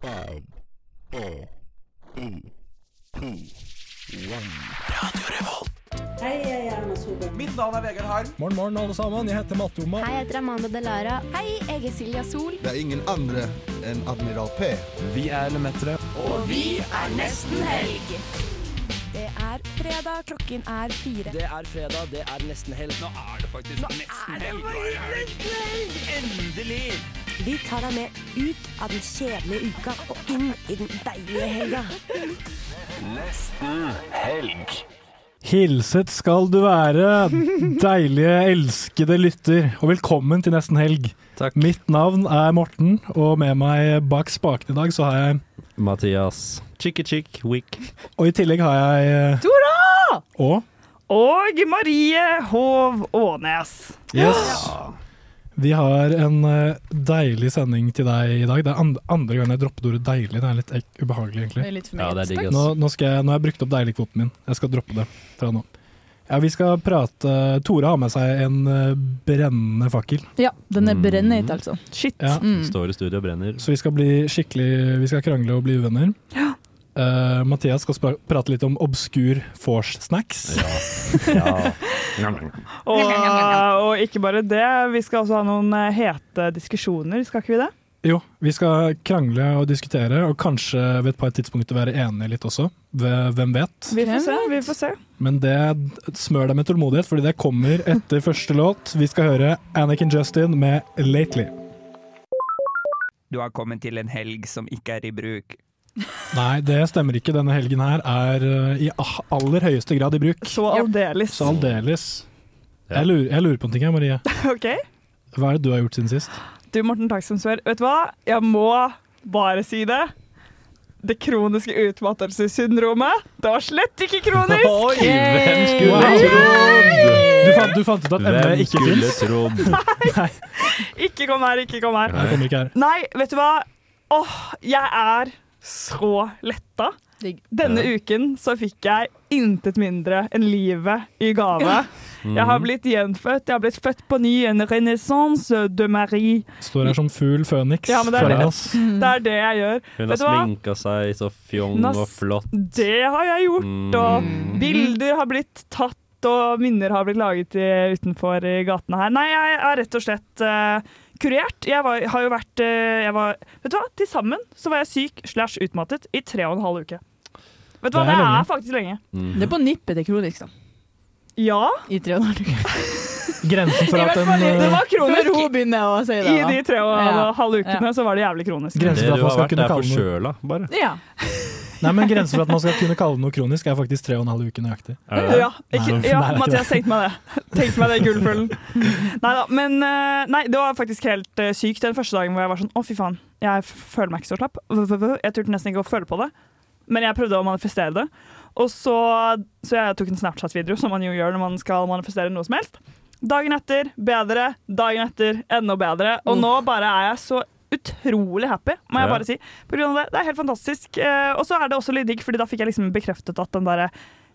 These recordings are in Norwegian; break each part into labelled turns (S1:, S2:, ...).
S1: Five, four, three, two, one.
S2: Hei, jeg er Erna Solberg.
S3: Mitt navn er Vegard Harm.
S4: Morgen, morgen, alle sammen. Jeg heter Matte Oma.
S5: Hei, jeg heter Amanda Delara. Hei, jeg er Silja Sol.
S6: Det er ingen andre enn Admiral P.
S5: Det er fredag, klokken er fire.
S3: Det er fredag, det er nesten helg. Nå er det faktisk nesten helg. Endelig!
S7: Vi tar deg med ut av den kjedelige uka og inn i den deilige helga.
S8: Hilset skal du være, deilige, elskede lytter, og velkommen til Nesten Helg.
S9: Takk.
S8: Mitt navn er Morten, og med meg bak spaken i dag så har jeg
S9: Mathias. Chicky chick wick.
S8: Og i tillegg har jeg Tora! Og
S10: Og Marie Hov Ånes.
S8: Yes. Vi har en eh, deilig sending til deg i dag. Det er and- andre gangen jeg droppet ordet deilig. Det er litt ek ubehagelig, egentlig.
S10: er litt for
S9: Ja, det er digg,
S8: Nå,
S9: ass.
S8: nå, skal jeg, nå har jeg brukt opp deiligkvoten min. Jeg skal droppe det fra nå. Ja, Vi skal prate Tora har med seg en eh, brennende fakkel.
S11: Ja, den er
S9: Mm.
S11: brennheit, altså.
S10: Shit.
S8: Ja.
S11: Mm.
S9: Står i studio og brenner.
S8: Så vi skal bli skikkelig Vi skal krangle og bli uvenner. Eh, Mathias skal spra- prate litt om obskur vors-snacks.
S9: Ja.
S10: Og, og ikke bare det, vi skal også ha noen eh, hete diskusjoner, skal ikke vi det?
S8: Jo, vi skal krangle og diskutere, og kanskje ved et par tidspunkter være enige litt også. Ve- Hvem vet?
S10: Vi får se. vi får se.
S8: Men det smør deg med tålmodighet, fordi det kommer etter første låt. Vi skal høre Anakin Justin med 'Lately'.
S3: Du har kommet til en helg som ikke er i bruk.
S8: Nei, det stemmer ikke. Denne helgen her er eh, i a- aller høyeste grad i bruk.
S10: Så aldeles.
S8: Så aldeles.
S9: Ja.
S8: Jeg lurer, jeg lurer på en ting, her, Marie.
S10: OK.
S8: Hva er det du har gjort siden sist?
S10: Du, Morten Takk som spør. Vet du hva? Jeg må bare si det. Det kroniske utmattelsessyndromet. Det var slett ikke kronisk!
S9: Oi, hvem skulle
S8: Wow.
S9: trodd?
S8: Du fant, du fant ut at ME
S9: Hvem
S8: ikke
S9: skulle
S8: fins?
S9: trodd?
S10: Ikke kom her, ikke kom her.
S8: Nei, det kommer ikke her.
S10: Nei, vet du hva? Åh, jeg er så letta.
S11: Digg.
S10: Denne
S9: Ja.
S10: uken så fikk jeg intet mindre enn livet i gave. Jeg
S8: Mhm.
S10: har blitt gjenfødt. Jeg har blitt født på ny. En renaissance de Marie.
S8: Står her som fugl føniks
S10: Ja, men det er
S8: foran
S10: det.
S8: oss.
S11: Mm.
S10: Det er det jeg gjør.
S9: Mm.
S10: Vet
S9: Hun har
S10: du hva?
S9: sminka seg så fjong
S10: Nå
S9: og
S10: s-
S9: flott.
S10: Det har jeg gjort. Og
S9: Mm.
S10: bilder har blitt tatt. Og minner har blitt laget i, utenfor i gatene her. Nei, jeg er rett og slett eh, kurert. Jeg var, har jo vært eh, jeg var, Vet du hva, til sammen så var jeg syk slash utmattet i tre og en halv uke. Vet du hva,
S8: Det er
S10: det er,
S8: lenge.
S10: faktisk lenge.
S9: Mm.
S11: Det er på nippet til kronisk, da.
S10: Ja,
S11: I tre og en halv uke.
S8: Grensen for at en
S10: det
S8: eh,
S10: var
S11: Før
S10: kronisk.
S11: hun begynner å si
S10: I
S11: det. da.
S10: de tre og en
S11: Ja.
S10: halv ukene
S11: Ja.
S10: så var det jævlig kronisk.
S9: Det
S8: eh, Grensen
S9: du
S8: for at man
S9: har
S8: skal
S9: vært,
S8: kunne
S9: er
S8: kalle noe
S9: forkjøla, bare.
S11: Ja.
S8: Nei, men grensen for at man skal kunne kalle noe kronisk, er faktisk tre og en halv uke nøyaktig.
S9: Er det det?
S10: Ja, ikke,
S8: Nei, det er
S10: ja
S8: ikke det.
S10: Mathias, tenkte meg det. Tenkte meg det i gullfuglen. Nei da, men eh, nei, det var faktisk helt eh, sykt den første dagen hvor jeg var sånn Å, fy faen, jeg f- føler meg ikke så slapp. V- v- v- Jeg turte nesten ikke å føle på det. Men jeg prøvde å manifestere det. Og så, så jeg tok en Snapchat-video, som man jo gjør når man skal manifestere noe som helst. Dagen etter bedre, dagen etter enda bedre. Og nå bare er jeg så utrolig happy, må jeg
S9: Ja.
S10: bare si. På grunn av det. det er helt fantastisk. Eh, og så er det også litt digg, Fordi da fikk jeg liksom bekreftet at den der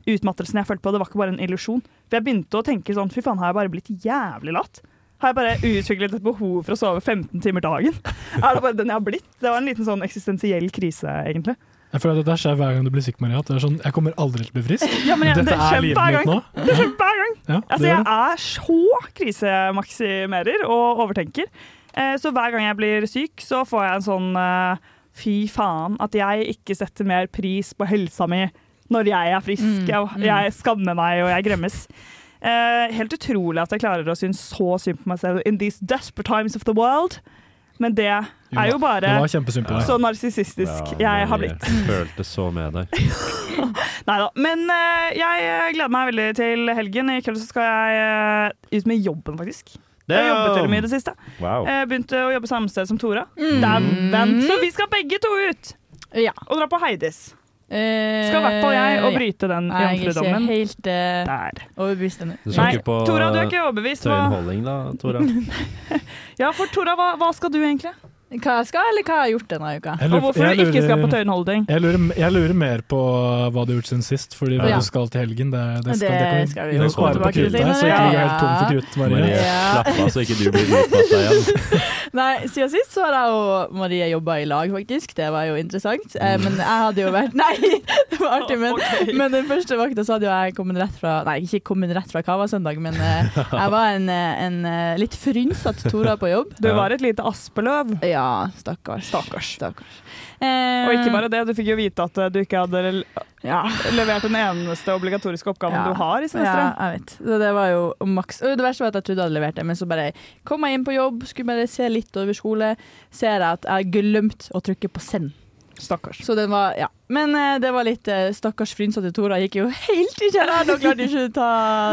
S10: utmattelsen jeg følte på, det var ikke bare en illusjon. For jeg begynte å tenke sånn, fy faen, har jeg bare blitt jævlig latt? Har jeg bare utviklet et behov for å sove 15 timer dagen? Er det bare den jeg har blitt? Det var en liten sånn eksistensiell krise, egentlig.
S8: Jeg føler at dette skjer hver gang du blir syk, Maria. at Det er sånn, jeg kommer aldri til å bli frisk.
S10: Ja, men jeg,
S8: Dette
S10: det
S8: er
S10: skjer hver
S8: livet mitt
S10: gang.
S8: nå.
S10: Det skjer hver gang.
S8: Ja,
S10: Altså,
S8: det
S10: jeg
S8: gjør det.
S10: er så krisemaksimerer og overtenker. Eh, Så hver gang jeg blir syk, så får jeg en sånn eh, fy faen at jeg ikke setter mer pris på helsa mi når jeg er frisk.
S11: Mm,
S10: Jeg,
S11: mm.
S10: jeg skammer meg, og jeg gremmes. Eh, helt utrolig at jeg klarer å synes så synd på meg selv in these desperate times of the world. Men det er sånn jo
S8: Det
S10: bare
S8: var kjempesynd på deg.
S10: så narsissistisk
S9: Ja,
S10: jeg har
S9: Marie,
S10: blitt.
S9: Følte så med deg.
S10: Nei da. Men eh, jeg eh, gleder meg veldig til helgen. I kveld så skal jeg eh, ut med jobben, faktisk. Jeg har jobbet til og med i det Eh, siste.
S9: Wow.
S10: Jeg begynte å jobbe samme sted som Tora.
S11: Mm.
S10: Dæven. Så vi skal begge to ut
S11: ja.
S10: og dra på Heidis.
S11: Eh,
S10: Skal i hvert fall jeg og
S11: ja.
S10: bryte den
S11: Nei, jeg er ikke
S10: jomfrudommen.
S11: helt eh,
S10: Der.
S11: overbevist ennå.
S9: Du
S10: Nei,
S9: skal ikke på
S10: Tora, du er ikke overbevist. Hva?
S9: Tøyenholding da, Tora?
S10: Ja, for Tora, hva, hva skal du egentlig?
S11: Hva jeg skal, eller hva jeg har gjort denne uka?
S8: Jeg
S10: Og
S8: lurer-
S10: hvorfor
S8: jeg
S10: du ikke skal på
S8: lurer-
S10: Tøyenholding?
S8: Jeg lurer, jeg lurer mer på hva du har gjort siden sist, fordi hva
S11: Ja.
S8: du skal til helgen, det, det, skal,
S11: Det
S8: det, kan
S11: skal vi
S8: vi
S11: jo
S8: det sparer
S9: komme
S8: på
S9: tilbake
S8: kruttet,
S9: til
S8: her, så ikke du er helt tom
S11: senere.
S8: for krutt, Marie.
S9: Marie,
S11: Ja.
S9: slapp av så ikke du blir utmatta igjen.
S11: Nei, siden sist så har jeg og Marie jobba i lag, faktisk. Det var jo interessant. Eh,
S9: Mm.
S11: men jeg hadde jo vært Nei, det var artig, men, men den første vakta så hadde jo jeg kommet rett fra Nei, ikke kommet rett fra Kava søndag, men eh, jeg var en, eh, en eh, litt frynsete Tora på jobb.
S10: Du var et lite aspeløv.
S11: Ja, stakkars.
S10: Stakkars.
S11: Eh,
S10: Og ikke bare det, du fikk jo vite at eh, du ikke hadde le- levert den eneste obligatoriske oppgaven
S11: Ja.
S10: du har i semesteret.
S11: Eh, Ja, jeg vet. Så det var jo maks. Og det verste var at jeg trodde jeg hadde levert det, men så bare kom jeg inn på jobb, skulle bare se litt over skole, ser jeg at jeg glemte å trykke på send.
S10: Stakkars.
S11: Så den var, ja. Men eh, det var litt eh, stakkars frynsete Tora gikk jo helt i kjelleren og klarte ikke å ta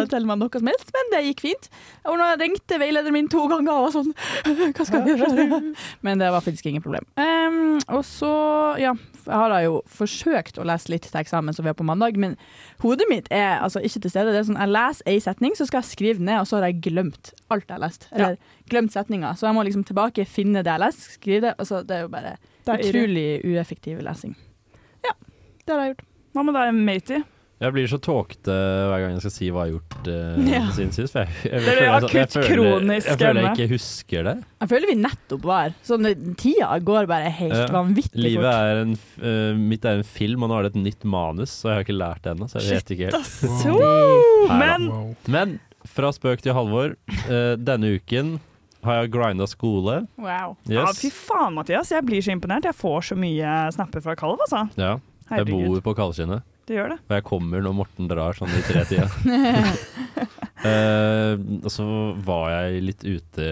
S11: til meg noe som helst, men det gikk fint. Og nå ringte veilederen min to ganger og var sånn Hva skal jeg gjøre? Men det var faktisk ingen problem. Ehm, og så, ja, jeg har da jo forsøkt å lese litt til eksamen som vi har på mandag, men hodet mitt er altså ikke til stede. Det er sånn, Jeg leser ei setning, så skal jeg skrive ned, og så har jeg glemt alt jeg har lest. Eller glemt setninga. Så jeg må liksom tilbake, finne det jeg leser, skrive det. Altså, det er jo bare
S10: Det er
S11: utrolig ueffektiv lesing. Ja, det har jeg gjort.
S10: Hva med deg, matey?
S9: Jeg blir så tåkete hver gang jeg skal si hva jeg har gjort eh,
S11: Ja.
S9: siden sist. For jeg, jeg,
S10: Det blir
S9: føler- altså, jeg,
S10: akutt kronisk
S9: jeg føler
S10: hjemme.
S9: jeg ikke husker det.
S11: Jeg føler vi nettopp var sånn Tida går bare helt
S9: Ja.
S11: vanvittig
S9: Livet
S11: fort.
S9: er en, f- eh, mitt er en film, og nå er det et nytt manus, så jeg har ikke lært det ennå. Så jeg vet ikke helt.
S10: Woo!
S9: Nei da.
S10: Men
S9: Men fra spøk til Halvor. eh, denne uken har jeg grinda skole.
S10: Wow.
S9: Yes.
S10: Ja, fy faen, Mathias. Jeg blir så imponert. Jeg får så mye snapper fra Kalv, altså.
S9: Ja, jeg
S10: Herregud.
S9: bor på Kalskinnet,
S10: Du gjør det.
S9: og jeg kommer når Morten drar sånn i tre-tida. Eh, og så var jeg litt ute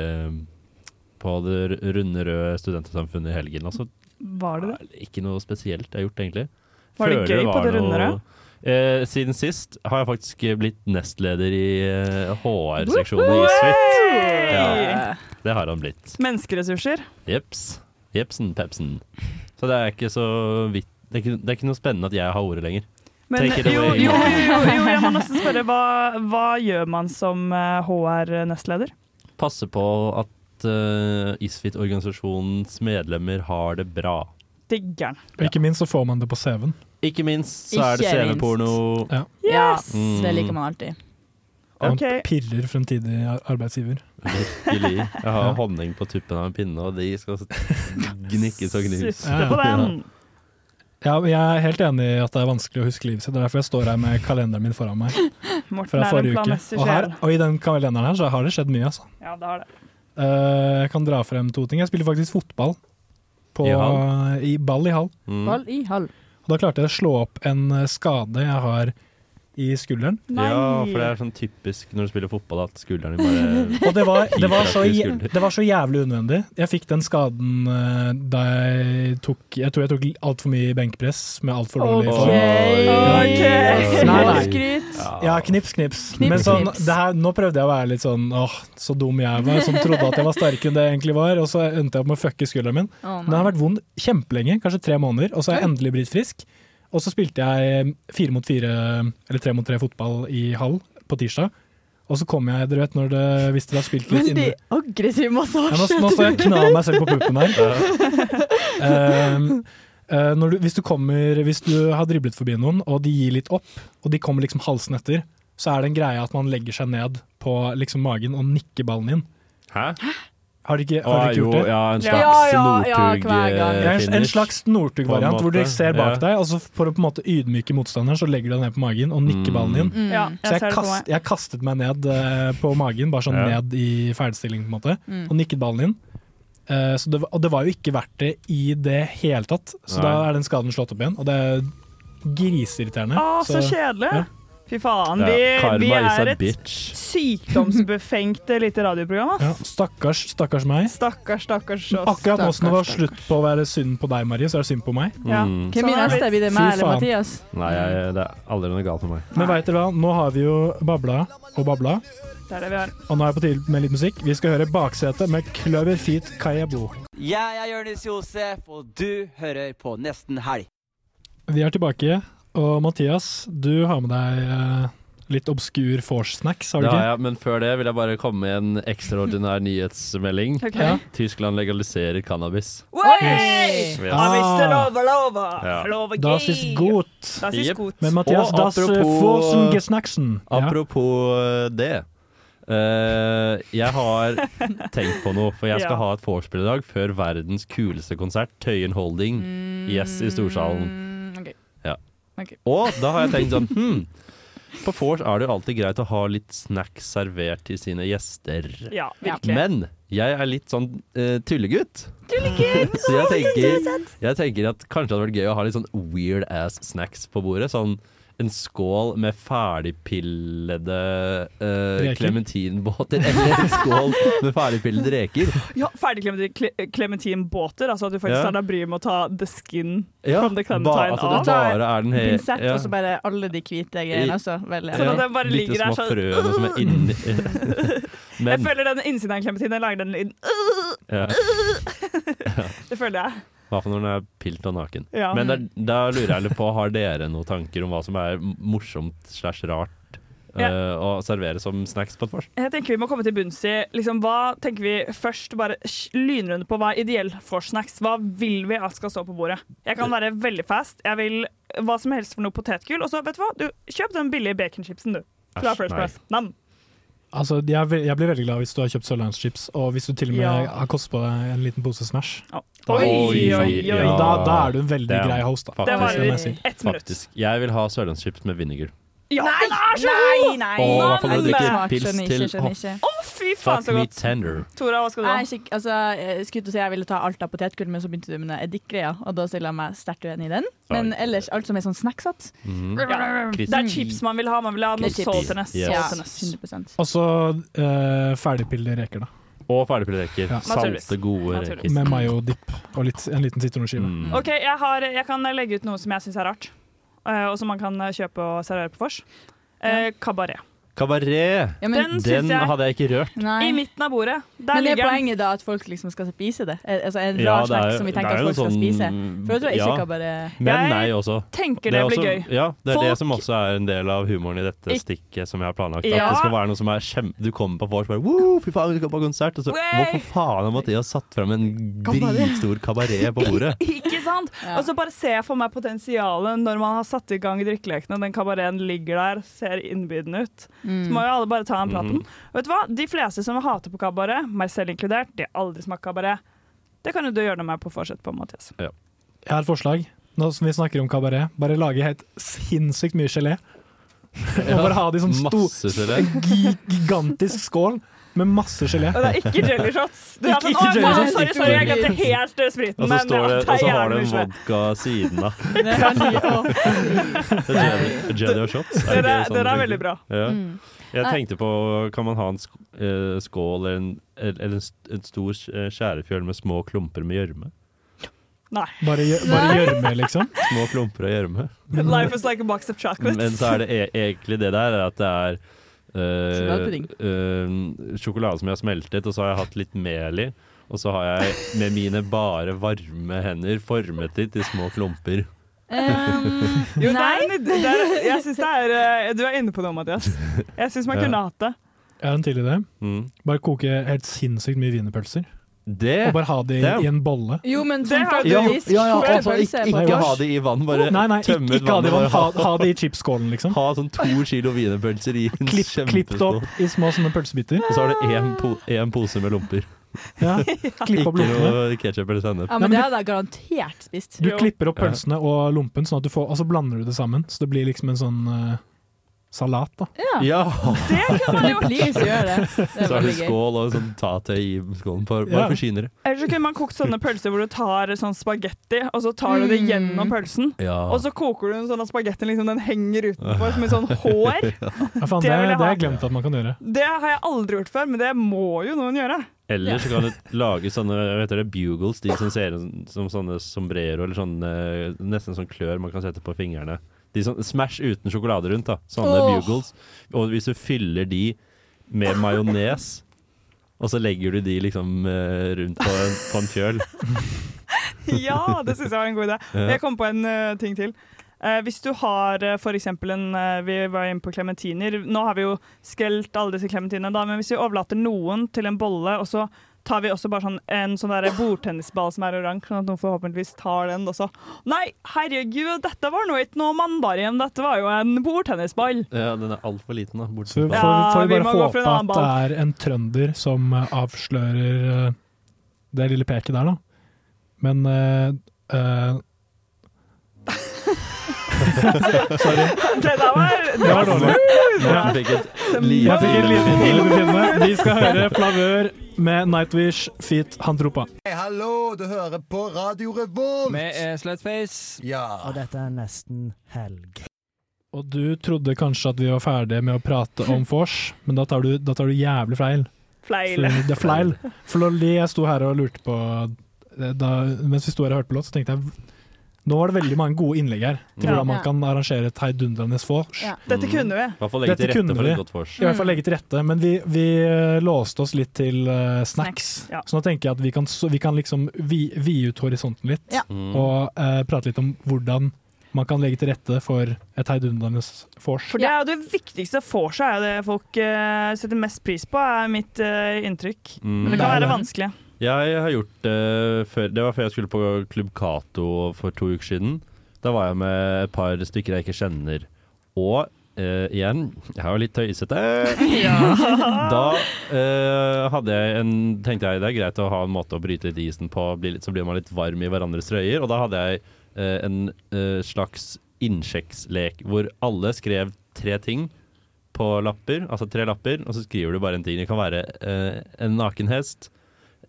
S9: på det r- runde røde studentersamfunnet i helgen. Og så
S10: Var det det?
S9: ikke noe spesielt jeg har gjort, egentlig.
S10: Var det
S9: Føler
S10: gøy på det runde
S9: noe-
S10: røde?
S9: Eh, siden sist har jeg faktisk blitt nestleder i eh, HR-seksjonen i Isfit. Ja, det har han blitt.
S10: Menneskeressurser.
S9: Jeps. Jepsen pepsen. Så det er ikke så vidt det er ikke, det er ikke noe spennende at jeg har ordet lenger.
S10: Men
S9: Take it
S10: jo,
S9: away.
S10: jo, jo, jo, jeg må nesten spørre, hva, hva gjør man som eh, HR-nestleder?
S9: Passe på at eh, Isfit-organisasjonens medlemmer har det bra.
S10: Digger'n.
S8: Og ikke minst så får man det på CV-en.
S9: Ikke minst så er det
S11: Ikke minst.
S9: CV-porno.
S8: Ja.
S11: Ja,
S10: Yes!
S9: Mm.
S11: det liker man alltid.
S8: Og
S10: Ok.
S8: man pirrer fremtidig ar- arbeidsgiver.
S9: Virkelig. Jeg har honning på tuppen av en pinne, og de skal gnikkes og gnus.
S10: Sitte på den.
S8: Ja, men jeg er helt enig i at det er vanskelig å huske livet sitt. Det er derfor jeg står her med kalenderen min foran meg
S10: Morten
S8: fra
S10: er en
S8: forrige uke.
S10: planmessig
S8: Og, her,
S10: sjel.
S8: og i den kalenderen her så har det skjedd mye, altså.
S10: Ja, det har det.
S8: Eh, jeg kan dra frem to ting. Jeg spiller faktisk fotball på,
S9: I
S8: I,
S9: hall?
S8: ball i hall.
S9: Mm.
S11: Ball i hall.
S8: Og da klarte jeg å slå opp en eh, skade jeg har i skulderen.
S9: Ja, for det er sånn typisk når du spiller fotball at skulderen din bare
S8: Og det var, det var, så,
S9: Hyperaktiv
S8: jæ-
S9: skulder.
S8: det var så jævlig unødvendig. Jeg fikk den skaden eh, da jeg tok Jeg tror jeg tok altfor mye benkpress med altfor dårlig
S11: Ok.
S8: form.
S10: Ok.
S8: Nei, nei.
S11: Skryt.
S8: Ja, knips, knips.
S11: Knips,
S8: Men sånn,
S11: knips.
S8: det her, nå prøvde jeg å være litt sånn åh, så dum jeg var, som trodde at jeg var sterkere enn det jeg egentlig var, og så endte jeg opp med å fucke skulderen min.
S11: Å,
S8: Den
S11: nei.
S8: har vært vond kjempelenge, kanskje tre måneder, og så har jeg endelig blitt frisk. Og så spilte jeg eh, fire mot fire, eller tre mot tre fotball i hall på tirsdag. Og så kom jeg, dere vet, når det, hvis dere har spilt litt
S11: Veldig
S8: inne
S11: aggressiv
S8: ja, nå,
S11: massasje.
S8: nå står jeg og knar meg selv på puppen her. Ehm, eh, når du, hvis, du kommer, hvis du har driblet forbi noen, og de gir litt opp, og de kommer liksom halsen etter, så er det en greie at man legger seg ned på liksom magen og nikker ballen inn.
S9: Hæ?
S8: Har du ikke,
S9: Å,
S8: har dere ikke
S9: jo,
S8: gjort det?
S9: ja, en
S10: Ja,
S9: slags
S11: ja, ja, hver gang.
S8: Det er en, en
S9: Northug-finish.
S8: slags
S9: På en
S8: Northug-variant
S9: måte,
S8: hvor du ser bak
S9: ja.
S8: deg, og så for å på en måte ydmyke motstanderen, så legger du deg ned på magen og nikker
S9: Mm.
S8: ballen inn.
S11: Mm.
S10: Ja,
S8: Så jeg,
S10: jeg ser det på
S8: kast,
S10: meg.
S8: jeg kastet meg ned eh, på magen, bare sånn
S9: Ja.
S8: ned i ferdigstilling, på en måte,
S11: Mm.
S8: og nikket ballen inn. Eh, så det, var- og det var jo ikke verdt det i det hele tatt, så
S9: Nei.
S8: da er den skaden slått opp igjen, og det er griseirriterende.
S10: Å, Ah, så kjedelig!
S8: ja.
S10: Fy faen.
S9: Ja,
S10: Vi, vi
S9: Karma is
S10: er
S9: a
S10: et
S9: bitch.
S10: sykdomsbefengt lite radioprogram. ass.
S8: ja, stakkars, stakkars meg.
S10: Stakkars, stakkars oss.
S8: Akkurat nå som det
S11: stakkars,
S8: var slutt på å være synd på deg, Marie, så er det synd på meg.
S10: Ja.
S9: Mm.
S11: Hvem
S10: Sånn
S11: blir
S10: er
S11: neste?
S10: det.
S11: Blir det
S8: Fy
S11: meg eller
S8: faen.
S11: Mathias?
S9: Nei, jeg, det er aldri noe galt med meg.
S8: Men veit dere hva, nå har vi jo babla og babla,
S10: Det er det vi har.
S8: og nå er jeg på tide med litt musikk. Vi skal høre Baksetet med Clover Feet Kayabo.
S12: Jeg er Jonis Josef, og du hører på Nesten Helg.
S8: Vi er tilbake, og Mathias, du har med deg eh, litt obskur vors-snacks, har du
S9: Det har
S8: ikke?
S9: jeg, men før det vil jeg bare komme med en ekstraordinær nyhetsmelding.
S10: Ok.
S8: Ja.
S9: Tyskland legaliserer cannabis.
S10: Yes.
S9: Yes.
S10: Ah. visste lova, lova.
S9: Ja.
S10: Lova
S8: Das
S10: gay.
S8: ist gut.
S10: Das ist
S9: Jep.
S10: gut.
S8: Men Mathias,
S9: Og
S8: das
S9: apropos-
S8: vorsen gesnacksen. Ja.
S9: Apropos eh, det. Eh, jeg har tenkt på noe, for jeg skal
S13: Ja.
S9: ha et vorspiel i dag før verdens kuleste konsert, Tøyen Holding, Yes i Storsalen.
S11: Mm.
S9: Eh,
S11: ok.
S9: Ja.
S11: Ok.
S9: Og da har jeg tenkt sånn hmm, På vors er det jo alltid greit å ha litt snacks servert til sine gjester.
S10: Ja, virkelig.
S9: Men jeg er litt sånn eh, tullegutt.
S10: Tullegutt!
S9: Så jeg
S10: Å, det er
S9: tenker,
S10: søtt!
S9: jeg tenker at kanskje det hadde vært gøy å ha litt sånn weird ass snacks på bordet. Sånn en skål med ferdigpillede
S10: Reker.
S9: klementinbåter. eller en skål med ferdigpillede reker.
S10: Ja, Ferdigklemte klementinbåter. Altså at du faktisk
S9: Ja.
S10: tar deg bryet med å ta the skin
S9: Ja,
S10: from the
S9: ba-
S10: clementine
S9: altså,
S10: av.
S9: det bare er den he-
S11: Pinsett
S9: ja.
S11: og så bare alle de hvite
S9: I-
S11: greiene også. Vel,
S9: Ja,
S10: at den bare
S9: bitte
S10: ligger der
S9: små
S10: sånn-
S9: frøene som er inni
S10: Jeg
S9: Men
S10: føler den innsiden av en klementin, jeg lager den lyden.
S9: ja.
S10: Det føler jeg.
S9: Hva for når den er pilt og naken.
S10: Ja.
S9: Men der, da lurer jeg litt på, har dere noen tanker om hva som er morsomt slash rart eh, å servere som snacks på et vors?
S10: Jeg tenker Vi må komme til bunns i liksom, hva tenker vi først bare sj- lynrunde på hva er ideell for snacks. Hva vil vi at skal stå på bordet? Jeg kan være veldig fast. Jeg vil hva som helst for noe potetgull. Og så, vet du hva, du, kjøp den billige baconchipsen, du. Fra
S8: Æsj,
S10: First
S8: nei.
S10: Price. Nam.
S8: Altså, jeg, er ve- jeg blir veldig glad hvis du har kjøpt sørlandschips, og hvis du til og med
S10: Ja.
S8: har kostet på deg en liten pose Smash. Da,
S10: Oi, oi, oi.
S8: Da, da er du en veldig
S9: Det er-
S8: grei host, da.
S9: Faktisk,
S10: Det varer
S9: må jeg si.
S10: ett minutt.
S9: Faktisk. Jeg vil ha sørlandschips med vinegar.
S10: Ja, den er så god!
S11: nei,
S9: Og i hvert fall når du
S11: nei.
S9: drikker
S11: Smak,
S9: pils
S11: skjønner ikke,
S9: til
S11: skjønner ikke.
S10: Å, fy faen,
S9: Fuck
S10: så
S9: me
S10: godt.
S9: tender.
S10: Tora, hva skal du ha?
S11: Nei, skikk- altså, jeg skulle til å si jeg ville ta alt av potetgull, men så begynte du med den eddikgreia, og da stiller jeg meg sterkt uenig i den. Men ellers alt som er sånn snacksatt.
S9: Mhm.
S10: Ja. Det er chips man vil ha. Man vil ha noe saltiness.
S11: sånn
S10: saltiness.
S8: Og så uh, ferdigpillede reker, da.
S9: Og ferdigpillereker.
S8: Ja.
S9: Salte, gode
S10: Naturligvis.
S9: reker.
S8: Med mayo-dipp og litt, en liten sitronskive.
S9: Mm.
S10: OK, jeg, har, jeg kan legge ut noe som jeg syns er rart, eh, og som man kan kjøpe og servere på vors. Eh, Kabaret.
S9: Kabaret!
S10: Ja, men- Den
S9: den
S10: synes jeg-
S9: hadde jeg ikke rørt.
S10: I midten av bordet. Der
S11: Men det er
S10: ligger den.
S11: poenget da at folk liksom skal spise det? Eh, Altså En rar
S9: Ja, det er
S11: snack
S9: jo-
S11: som vi
S9: det
S11: tenker
S9: er
S11: at
S9: jo
S11: folk skal
S9: sånn-
S11: spise? For da tror jeg
S9: ja.
S11: ikke bare
S9: Men nei også.
S10: tenker
S9: er
S10: det blir
S9: også-
S10: gøy.
S9: Ja, det er
S10: Folk-
S9: det som også er en del av humoren i dette
S10: Ik-
S9: stikket som jeg har planlagt.
S10: Ja.
S9: At det skal være noe som er kjem... Du kommer på vors og bare Woo, fy faen, vi skal på konsert! Og så
S10: Wey!
S9: hvorfor faen har Mathias satt fram en
S10: Kabaret.
S9: dritstor kabaret på bordet?
S10: Ikke sant? Og så bare ser jeg for meg potensialet når man har satt i gang drikkelekene, den kabareten ligger der, ser innbydende ut. Så
S11: Mm.
S10: må jo alle bare ta den praten.
S9: Mhm.
S10: Og vet du hva? De fleste som hater på kabaret, meg selv inkludert, de har aldri smakt kabaret. Det kan jo du gjøre noe med på forsett på, Mathias.
S8: Jeg har et forslag. Nå som vi snakker om kabaret, bare lage helt sinnssykt mye gelé. Og bare ha det i sånn stor,
S9: Masse gelé.
S8: en gi- gigantisk skål med masse gelé.
S10: Og det er ikke jelly shots. Du er
S8: Ikke-
S10: sånn,
S8: ikke
S10: «Å,
S8: jelly
S10: faen,
S8: shots,
S10: sorry,
S8: ikke
S10: sorry, jeg
S8: jelly
S10: glemte
S8: shots.
S10: helt eh, spriten.
S9: Og så,
S10: men
S9: står det,
S10: ta
S9: og så har
S10: gjerne
S9: du en sånn-
S10: svært.
S9: vodka siden av.
S11: Det
S9: Jelly- Jelly og shots.
S10: Den
S9: det
S10: er-
S9: sånn
S10: den er
S9: det
S10: veldig
S9: funker?
S10: bra.
S9: Ja.
S10: Mm.
S9: Jeg
S8: Eh,
S10: Nei.
S9: tenkte på Kan man ha en sk eh, skål eller en, eller en, st- en stor eh, skjærefjøl med små klumper med gjørme?
S10: Nei.
S8: Bare gjø- bare gjørme, liksom?
S9: Små klumper av gjørme.
S10: Life is like a box of chocolates.
S9: Men så er det e egentlig det der er at det er
S10: Sjokoladepudding.
S9: eh, eh, sjokolade som jeg har smeltet, og så har jeg hatt litt mel i. Og så har jeg med mine bare varme hender formet det til små klumper.
S11: Ehm,
S10: Jo, det er, en- det er, jeg synes det er eh, Du er inne på noe, Mathias. Jeg syns man
S8: Ja.
S10: kunne hatt det.
S8: Jeg har en til idé.
S9: Mm.
S8: Bare koke helt sinnssykt mye wienerpølser.
S9: Det-
S8: Og bare ha det i,
S9: det-
S8: i en bolle.
S11: Jo, men sånn
S10: Det har
S8: Ja, ja, ja, altså,
S9: ikke, ikke ha det i vann, bare
S8: Nei, nei, ikke,
S9: tømme ut
S8: ikke ha det i vann.
S9: vannet,
S8: Ha,
S9: bare
S8: ha det i chipsskålen, liksom.
S9: Ha sånn to kilo wienerpølser i en kjempestor
S8: Klippet opp i små sånne pølsebiter.
S9: Og så har du én po en pose med lomper.
S8: Ja, klipp
S9: ikke
S8: opp lommene.
S9: noe ketsjup eller sennep.
S11: Ja, men det hadde jeg garantert spist.
S8: Du klipper opp
S9: Ja.
S8: pølsene og lompen, sånn at du får, og så blander du det sammen. Så det blir liksom en sånn eh, salat, da.
S11: Ja.
S9: Ja.
S10: Det kan man jo
S11: Please gjør det. Det er
S9: så har du
S11: veldig gøy.
S9: skål og sånn tatøy i skålen. Bare,
S10: Ja.
S9: bare forsynere.
S10: Eller så kunne man kokt sånne pølser hvor du tar sånn spagetti, og så tar du det
S8: Mm.
S10: gjennom pølsen.
S9: Ja.
S10: Og så koker du den sånn at spagettien liksom, den henger utenfor som et sånn hår.
S8: Ja, faen,
S10: Det
S8: det,
S10: vil jeg
S8: det har
S10: ha.
S8: jeg glemt at man kan gjøre.
S10: Det har jeg aldri gjort før, men det må jo noen gjøre.
S9: Eller så kan du lage sånne hva heter det, bugles, de som ser ut som sånne sombrero eller sånne Nesten sånn klør man kan sette på fingrene. De sånn, smash uten sjokolade rundt, da. Sånne
S13: Åh.
S9: bugles. Og hvis du fyller de med majones, og så legger du de liksom eh, rundt på en, på en fjøl
S10: Ja, det syns jeg var en god idé.
S9: Ja.
S10: Jeg kom på en eh, ting til. Eh, hvis du har uh, f.eks. en eh, Vi var inne på klementiner. Nå har vi jo skrelt alle disse klementinene, da, men hvis vi overlater noen til en bolle, og så tar vi også bare sånn en sånn der bordtennisball som er oransje, sånn at noen forhåpentligvis tar den også. Nei, herregud, dette var nå ikke noe mandarium, dette var jo en bordtennisball.
S9: Ja, den er altfor liten, da.
S8: Så får, får vi bare håpe at det er en trønder som eh, avslører eh, det lille peket der, da. Men eh, eh, Sorry.
S10: Det der var
S8: Det var dårlig.
S9: Ja.
S8: Ja.
S9: Jeg fikk et
S8: Jeg fikk et lite
S9: lite-
S8: ildbefinnende. Vi skal høre Flavør med Nightwish feat Handropa.
S6: Hei, hallo, du hører på Radio Revolt!
S13: Vi er Slutface. Og dette er nesten helg.
S8: Og du trodde kanskje at vi var ferdige med å prate om vors, men da tar du, da tar du jævlig feil.
S10: Fleil.
S8: For- Det er fleil. Fordi jeg sto her og lurte på eh, da, Mens vi sto her og hørte på låt, så tenkte jeg nå var det veldig mange gode innlegg her til
S10: Ja.
S8: hvordan man
S10: Ja.
S8: kan arrangere et heidundrende vors.
S10: Ja. Dette kunne vi. I
S9: Mm. hvert fall legge til
S8: Dette
S9: rette
S8: kunne
S9: for et
S8: vi.
S9: godt vors.
S8: I hvert
S10: Mm.
S8: fall legge til rette, men vi, vi eh, låste oss litt til eh, snacks.
S10: Snacks, ja.
S8: Så nå tenker jeg at vi kan, så, vi kan liksom vi- vide ut horisonten litt,
S10: Ja. Mm.
S8: og eh, prate litt om hvordan man kan legge til rette for et heidundrende vors.
S10: For det er jo det viktigste for seg, er jo det folk eh, setter mest pris på, er mitt eh, inntrykk.
S9: Mm.
S10: Men det kan
S9: Det er
S10: være
S9: det.
S10: vanskelig.
S9: Jeg har gjort det før Det var før jeg skulle på Klubb Cato for to uker siden. Da var jeg med et par stykker jeg ikke kjenner. Og eh, igjen, jeg er jo litt tøysete. Da eh, hadde jeg en, tenkte jeg det er greit å ha en måte å bryte litt isen på, bli litt, så blir man litt varm i hverandres trøyer. Og da hadde jeg eh, en eh, slags innsjekkslek hvor alle skrev tre ting på lapper, altså tre lapper, og så skriver du bare en ting. Det kan være eh, en naken hest,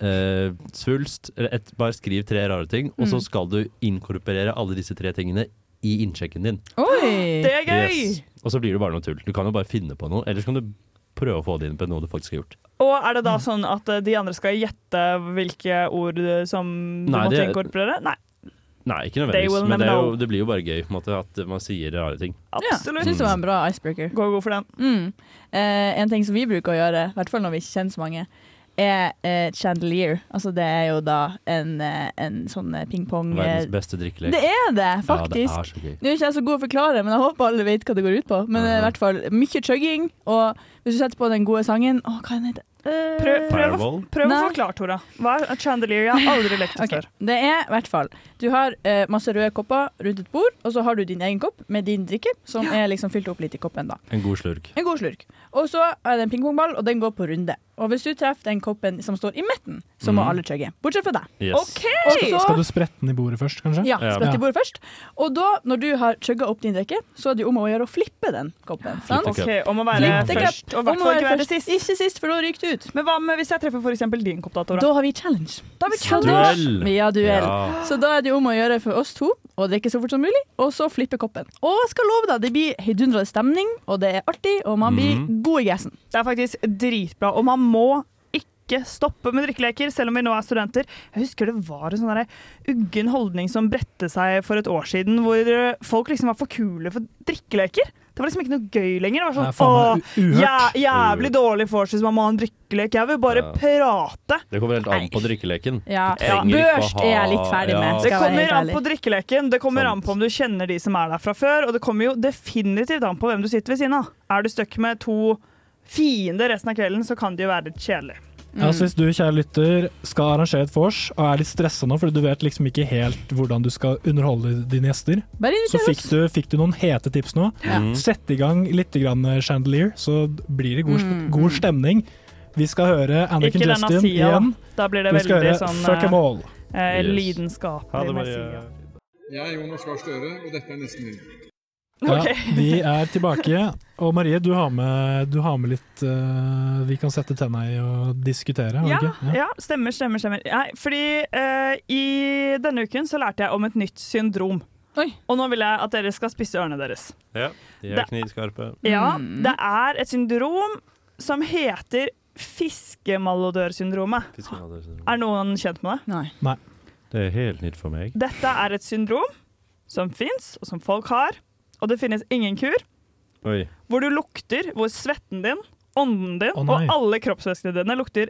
S9: eh, svulst, eller et, bare skriv tre rare ting, og så
S14: Mm.
S9: skal du inkorporere alle disse tre tingene i innsjekken din.
S14: Oi!
S10: Det er gøy!
S9: Yes. Og så blir det bare noe tull. Du kan jo bare finne på noe, ellers kan du prøve å få det inn på noe du faktisk har gjort.
S10: Og er det da sånn at eh, de andre skal gjette hvilke ord eh, som du
S9: Nei,
S10: måtte
S9: det-
S10: inkorporere? Nei.
S9: Nei, ikke
S10: They
S9: nødvendigvis,
S10: will
S9: men det, er
S10: never
S9: jo,
S10: know.
S9: det blir jo bare gøy på en måte, at man sier rare ting.
S10: Absolutt.
S11: Ja, synes det var en bra icebreaker.
S10: Gå god for den.
S11: Mm. Eh, en ting som vi bruker å gjøre, i hvert fall når vi ikke kjenner så mange, er eh, chandelier. Altså det er jo da en, eh, en sånn eh, pingpong... eh,
S9: Mm. Verdens beste drikkelek.
S11: Det er det, faktisk.
S9: Ja, det er så gøy.
S11: Nå er ikke jeg så god å forklare, men jeg håper alle vet hva det går ut på. Men eh, i hvert fall mye chugging, og hvis du setter på den gode sangen Å, hva er den heter Eh,
S10: Prøv, prøv, å,
S9: Firewall?
S10: prøv å
S11: Nei.
S10: forklare, Tora. Hva er et chandelier? Jeg har aldri lekt det
S11: Ok,
S10: før.
S11: Det er i hvert fall Du har eh, masse røde kopper rundt et bord, og så har du din egen kopp med din drikke, som er liksom fylt opp litt i koppen, da.
S9: En god slurk.
S11: En god slurk. Og så er det en pingpongball, og den går på runde. Og hvis du treffer den koppen som står i midten, så må
S8: Mhm.
S11: alle chugge. Bortsett fra deg.
S8: Yes.
S11: Ok! Og så,
S8: Skal du sprette den i bordet først, kanskje?
S11: ja, sprett i bordet først. Og da, når du har chugga opp din drikke, så er det jo om å gjøre å flippe den koppen. Sant?
S10: Ok, Om å være
S11: Flippe cup.
S10: først, og i hvert
S11: Om å
S10: fall ikke være
S11: først.
S10: sist.
S11: Ikke sist, for da ryker du ut.
S10: Men hva med hvis jeg treffer for eksempel din kopp, da, Tora?
S11: Da har vi challenge. Da har vi challenge.
S10: Duell.
S11: Ja, duell.
S10: Ja.
S11: Så da er det jo om å gjøre for oss to å drikke så fort som mulig, og så flippe koppen. Og jeg skal love deg, det blir heidundrende stemning, og det er artig, og man blir
S10: Mhm.
S11: god i gassen.
S10: Det er faktisk dritbra, og man må ikke stoppe med drikkeleker, selv om vi nå er studenter. Jeg husker det var en sånn derre uggen holdning som bredte seg for et år siden, hvor eh, folk liksom var for kule for drikkeleker. Det var liksom ikke noe gøy lenger. Det var
S9: Det er faen
S10: sånn,
S9: meg
S10: Åh,
S9: u-
S10: jæ
S9: uhørt.
S10: jævlig dårlig for seg hvis man må ha en drikkelek. Jeg vil bare
S9: Ja.
S10: prate.
S9: Det kommer helt an på drikkeleken.
S11: Ja.
S9: Du trenger
S11: Ja.
S9: ikke å
S11: Børst
S9: ha-
S11: er jeg litt ferdig med,
S9: Ja.
S11: skal
S10: Det
S11: jeg være helt
S10: kommer an
S11: ærlig.
S10: på drikkeleken, det kommer an på om du kjenner de som er der fra før, og det kommer jo definitivt an på hvem du sitter ved siden av. Er du stuck med to fiender resten av kvelden, så kan det jo være litt kjedelig.
S8: Ja, så hvis du, kjære lytter, skal arrangere et vors og er litt stressa nå fordi du vet liksom ikke helt hvordan du skal underholde dine gjester,
S11: Bare inviter
S8: så fikk
S11: oss.
S8: du, fikk du noen hete tips nå.
S11: Ja. Mhm.
S8: Sett i gang litt grann eh, chandelier, så blir det god,
S10: Mm.
S8: god stemning. Vi skal høre Anniken
S10: Ikke denne
S8: Justin
S10: sida,
S8: igjen.
S10: Da blir det
S8: Vi skal
S10: veldig
S8: høre
S10: sånn
S8: Fuck 'em
S10: eh,
S8: all.
S10: eh,
S8: Yes. Ha
S10: lidenskapelig
S8: det,
S10: med
S8: Maria.
S10: sida.
S15: Jeg er Jonas Gahr Støre, og dette er nesten helg.
S8: Ja,
S15: Ok.
S8: vi er tilbake. Og Marie, du har med, du har med litt eh, vi kan sette tenna i og diskutere, har du
S10: Ja,
S8: ikke?
S10: ja, stemmer, stemmer. stemmer. Nei, fordi eh, i denne uken så lærte jeg om et nytt syndrom. Og nå vil jeg at dere skal spisse ørene deres.
S9: Ja, de er
S10: Det-
S9: knivskarpe.
S10: Ja, det er et syndrom som heter fiskemalodørsyndromet.
S9: Fiskemalodørsyndromet.
S10: Er noen kjent med det?
S11: Nei.
S8: Nei.
S9: Det er helt nytt for meg.
S10: Dette er et syndrom som fins, og som folk har. Og det finnes ingen kur.
S9: Oi.
S10: Hvor du lukter hvor svetten din, ånden din
S9: Å, nei.
S10: og alle kroppsvæskene dine lukter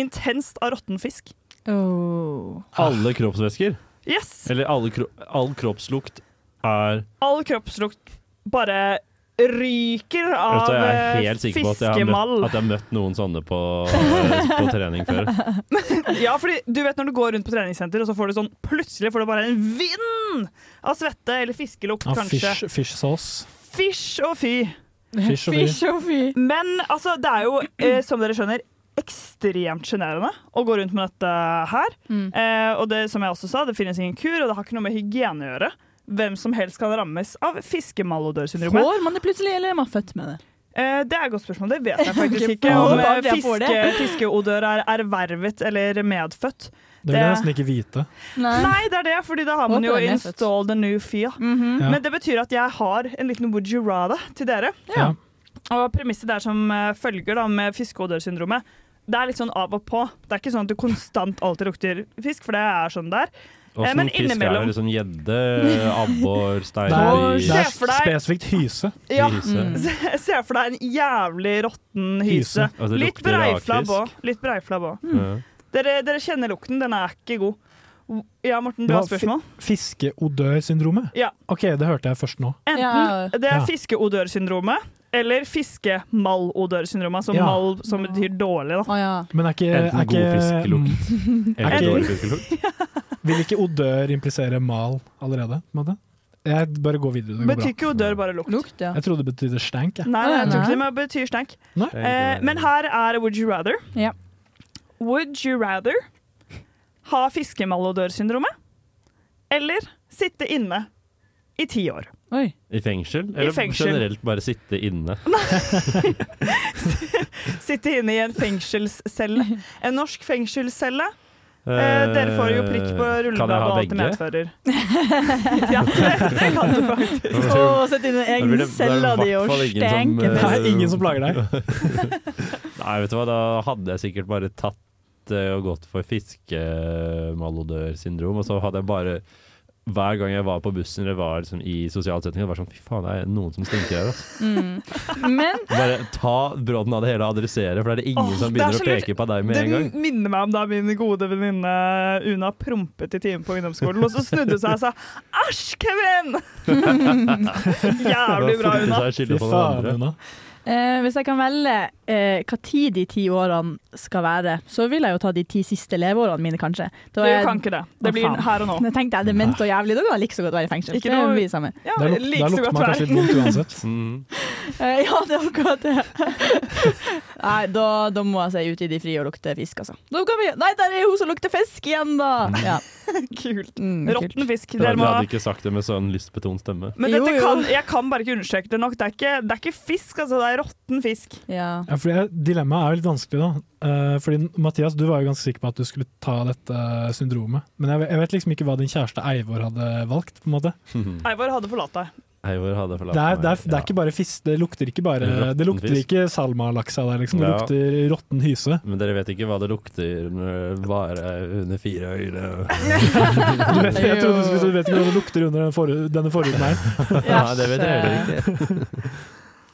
S10: intenst av råtten fisk.
S9: Alle kroppsvæsker?
S10: Yes!
S9: Eller alle kro all kroppslukt er
S10: All kroppslukt bare ryker av
S9: Vet du, jeg
S10: eh,
S9: er helt sikker på at jeg, har
S10: fiskemall.
S9: møtt, at jeg har møtt noen sånne på, eh, på trening før.
S10: ja, fordi du vet når du går rundt på treningssenter, og så får du sånn plutselig får du bare en vind av svette eller fiskelukt,
S8: Ja,
S10: kanskje.
S8: fish, fish sauce.
S10: Fish og fy.
S8: Fish og fy. Fish
S10: Men altså, det er jo, eh, som dere skjønner, ekstremt sjenerende å gå rundt med dette her.
S11: Mm.
S10: Eh, og det, som jeg også sa, det finnes ingen kur, og det har ikke noe med hygiene å gjøre. Hvem som helst kan rammes av fiskemalodørsyndromet.
S11: Får man det plutselig, eller er man født med det?
S10: Eh, Det er et godt spørsmål. Det vet jeg faktisk
S11: Ok,
S10: ikke. Om
S11: bra.
S10: eh,
S11: Jeg får
S10: fiske,
S11: det.
S10: fiskeodør er ervervet eller medfødt.
S8: Det vil jeg nesten ikke vite.
S10: Nei. det er det, fordi da har man
S11: Håper
S10: jo
S11: det er Mhm. medfødt.
S10: install the new fia.
S8: Ja.
S10: Men det betyr at jeg har en liten would you rather til dere.
S8: Ja.
S10: Og premisset der som eh, følger da med fiskeodørsyndromet, det er litt sånn av og på. Det er ikke sånn at du konstant alltid lukter fisk, for det er sånn der.
S9: Og
S10: Eh,
S9: sånn fisk er det liksom gjedde, abbor,
S8: Det er,
S9: steiner
S8: det er
S10: for deg-
S8: spesifikt hyse.
S10: Ja,
S9: Hyse.
S10: mm. se, se for deg en jævlig råtten hyse.
S9: Hyse. Altså, det
S10: litt
S9: lukter
S10: breiflabb Mm.
S9: rakfisk.
S10: òg. Litt breiflabb også.
S9: Ja.
S10: Dere, dere kjenner lukten, den er ikke god. Ja, Morten, du
S8: Det
S10: har
S8: var
S10: spørsmål?
S8: fi- Fiskeodørsyndromet?
S10: Ja.
S8: OK, det hørte jeg først nå.
S10: Enten det
S8: Ja.
S10: er fiskeodørsyndromet, eller fiskemalodørsyndromet, altså
S8: Ja.
S10: mal som betyr dårlig. Da.
S8: Men er ikke, er
S9: Enten god
S8: ikke
S9: fiskelukt
S8: Er
S9: eller
S8: ikke-
S9: dårlig fiskelukt.
S8: Vil ikke odør implisere mal allerede? på en måte? Jeg bare går videre. Det går
S10: Betyr
S8: bra.
S10: ikke odør bare lukt?
S8: Jeg trodde det betydde stank. Jeg.
S10: Nei, nei, jeg tror ikke det men det betyr stank.
S8: Nei.
S10: Eh, men her er would you rather. Would you rather ha fiskemalodørsyndromet eller sitte inne i ti år?
S9: I fengsel? Eller
S10: fengsel.
S9: generelt bare sitte inne?
S10: Sitte inne i en fengselscelle. En norsk fengselscelle. Eh, dere får jo prikk på
S9: Eh,
S10: rullebladet og alt det medfører. ja, det kan du faktisk.
S11: Å, sette inn en egen
S9: Da blir det- da er det
S11: celle
S9: i
S11: di og
S9: hvert fall ingen som,
S11: stenke
S9: eh,
S8: Det er ingen som plager deg.
S9: Nei, vet du hva, da hadde jeg sikkert bare tatt eh, og gått for fiskemalodørsyndrom, og så hadde jeg bare hver gang jeg var på bussen eller var liksom i sosial setting, det var sånn fy faen, det er noen som stinker her. Altså.
S11: Men
S9: Bare ta brodden av det hele og adressere, for da er det ingen
S10: Åh,
S9: som
S10: det er
S9: begynner
S10: så
S9: å
S10: lurt.
S9: peke på deg med
S10: det
S9: en gang.
S10: minner meg om da min gode venninne eh, Una prompet i timen på ungdomsskolen, og så snudde hun seg og sa 'æsj, Kevin'! Jævlig bra, Una.
S9: skylder
S8: Fy
S9: på noen
S8: faen,
S9: andre.
S8: Una.
S11: eh, hvis jeg kan velge eh, hva tid de ti årene skal være, så vil jeg jo ta de ti siste leveårene mine, kanskje. Da
S10: Du
S11: er-
S10: kan ikke det. Det
S11: Å,
S10: blir
S11: faen.
S10: her og nå.
S11: Da tenkte jeg dement og jævlig, da kan jeg like så godt være i fengsel.
S10: Ikke
S11: det
S10: noe-
S11: blir det samme.
S10: Ja,
S8: Der, luk, der
S10: like så
S8: lukter
S10: godt
S8: man kanskje
S10: være.
S8: litt vondt uansett.
S9: Mhm.
S11: Eh, ja, det er akkurat det. Nei, da, da må jeg se ut i de frie og lukte fisk, altså. Da kan vi, nei, der er hun som lukter fisk igjen, da!
S9: Mm.
S11: Ja.
S10: Kult.
S11: Mm, kult.
S10: Råtten fisk.
S9: Dere
S10: Dere må
S9: hadde ikke sagt det med sånn lystbetont stemme.
S10: men
S11: Jo,
S10: dette
S11: jo.
S10: kan, jeg kan bare ikke understreke det nok. Det er ikke, det er ikke fisk, altså. Det er råtten fisk.
S11: Ja.
S8: Ja, fordi Dilemmaet er jo litt vanskelig, da. Eh, fordi Mathias, du var jo ganske sikker på at du skulle ta dette eh, syndromet. Men jeg, ve- jeg vet liksom ikke hva din kjæreste Eivor hadde valgt. på en måte.
S10: Eivor hadde forlatt deg.
S9: Eivor hadde
S8: Det,
S9: forlatt
S8: er, det, er,
S9: meg.
S8: det er ikke bare fisk, det lukter ikke bare
S9: Råtten
S8: Det lukter
S9: fisk.
S8: ikke salmalaksa der, liksom. Det
S9: Ja.
S8: lukter råtten hyse.
S9: Men dere vet ikke hva det lukter når det bare er under fire øyne.
S8: Du vet, jeg trodde du skulle si du vet ikke hva det lukter under den forhu- denne forhuden her.
S9: Nei, det vet dere heller ikke.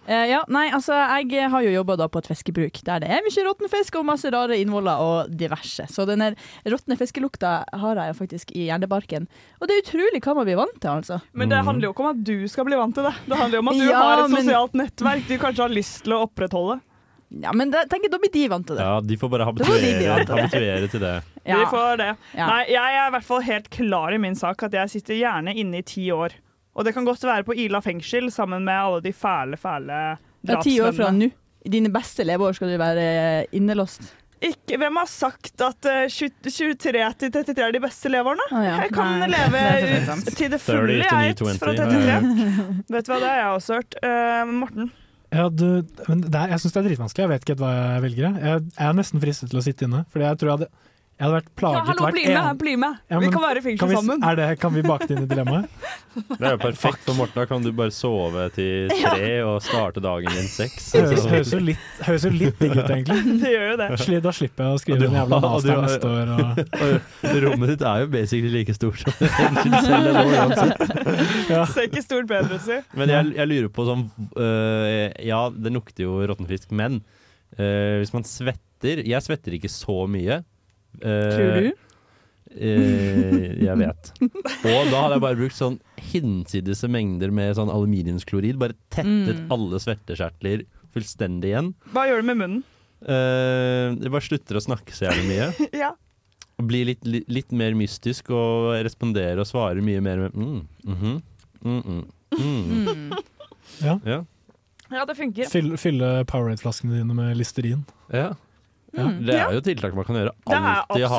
S11: Eh, ja, nei, altså, jeg har jo jobba på et fiskebruk der det er mye råtten fisk og masse rare innvoller og diverse. Så den her råtne fiskelukta har jeg jo faktisk i hjernebarken. Og det er utrolig hva man blir vant til, altså.
S10: Men det handler jo ikke om at du skal bli vant til det. Det handler jo om at du
S11: Ja,
S10: har et
S11: men-
S10: sosialt nettverk du kanskje har lyst til å opprettholde.
S11: Ja, men da, tenk, da blir de vant til det.
S9: Ja, de får bare
S11: Da får de bli
S9: habituere,
S11: vant til det.
S9: habituere til det.
S11: Ja.
S10: Vi får det.
S11: Ja.
S10: Nei, jeg er i hvert fall helt klar i min sak at jeg sitter gjerne inne i ti år. Og det kan godt være på Ila fengsel sammen med alle de fæle, fæle
S11: Det er ti år fra
S10: drapsmennene.
S11: nå. I dine beste leveår skal du være eh, innelåst.
S10: Ikke, hvem har sagt at eh, 20 23 til 33 er de beste leveårene?
S11: Å ja.
S10: Jeg kan
S11: Nei,
S10: leve
S11: det er sant.
S10: ut til det
S9: 30
S10: fulle,
S9: til
S10: jeg,
S9: 9,
S10: fra
S9: 20,
S10: 33. Vet du hva, det har jeg også hørt. Eh, Morten?
S8: Ja, du, men det er, jeg syns det er dritvanskelig. Jeg vet ikke helt hva jeg velger. jeg. Jeg, jeg er nesten fristet til å sitte inne. Fordi jeg tror jeg hadde, jeg hadde vært plaget hvert en-
S10: bli med!
S8: Ja, men kan vi, Er det, kan vi bake det inn i dilemmaet?
S9: Det er jo perfekt for Morten. Da kan du bare sove til tre og starte dagen din seks.
S8: Høres høres jo litt, høres jo litt digg ut, egentlig.
S10: Det gjør jo det.
S8: Sli- Da slipper jeg å skrive en jævla master neste år. Og,
S9: og rommet ditt er jo basically like stort som en celle nå uansett.
S10: Ser ikke stort bedre ut, si.
S9: Men jeg, jeg lurer på sånn øh, Ja, det lukter jo råtten fisk, men øh, hvis man svetter Jeg svetter ikke så mye. Øh,
S11: Tror du?
S9: jeg vet. Og da hadde jeg bare brukt sånn hinsidese mengder med sånn aluminiumsklorid. Bare tettet
S10: Mm.
S9: alle svettekjertler fullstendig igjen.
S10: Hva gjør du med munnen?
S9: Eh, det bare slutter å snakke så jævlig mye.
S10: Ja.
S9: Blir litt, litt, litt mer mystisk og responderer og svarer mye mer med mm, mhm, mm, mm, mm.
S8: Ja.
S9: Ja.
S10: Ja, det funker.
S8: Fylle, fylle Powerade-flaskene dine med Listerin.
S9: Ja.
S10: Mm.
S9: Det er jo tiltak man kan gjøre.
S10: Det er
S9: Alltid ha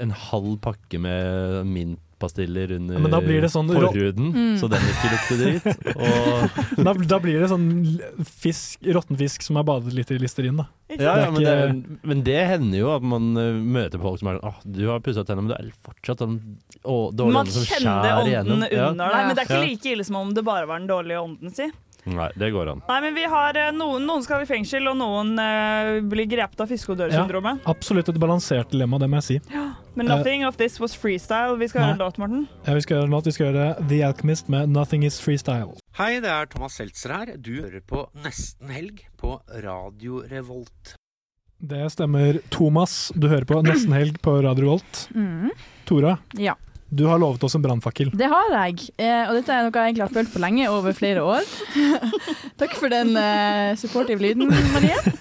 S9: en halv pakke med mintpastiller under
S8: Ja, men da blir det sånn rå-
S9: forhuden,
S8: Mm.
S9: så den ikke lukter dritt. Og
S8: Da, da blir det sånn l- fisk, råtten fisk som er badet litt i Listerin, da.
S9: ja, ja, men,
S8: Det
S9: det,
S8: er ikke-
S9: men det hender jo at man eh, møter folk som er sånn Åh, du har pussa tennene, men du er fortsatt sånn å, dårlig
S10: Man
S9: ånde som
S10: kjenner
S9: skjærer
S10: ånden
S9: igjennom.
S10: under. Nei, men det er ikke like ille som om det bare var den dårlige ånden, si.
S9: Nei, det går an.
S10: Nei, men vi har eh, noen, noen skal i fengsel, og noen eh, blir grepet av fiskodørsyndromet.
S8: Absolutt et balansert dilemma, det må jeg si.
S10: Men nothing of this was freestyle. Vi skal
S8: Nei.
S10: høre en låt, Morten.
S8: Ja, vi skal gjøre noe, vi skal gjøre The Alchemist med Nothing Is Freestyle.
S14: Hei, det er Thomas Seltzer her. Du hører på Nesten Helg på Radio Revolt.
S8: Det stemmer. Thomas, du hører på Nesten Helg på Radio Volt.
S11: Mm.
S8: Tora,
S11: Ja.
S8: du har lovet oss en brannfakkel.
S11: Det har jeg, eh, og dette er noe jeg egentlig har følt på lenge, over flere år. Takk for den eh, supportive lyden, Marie.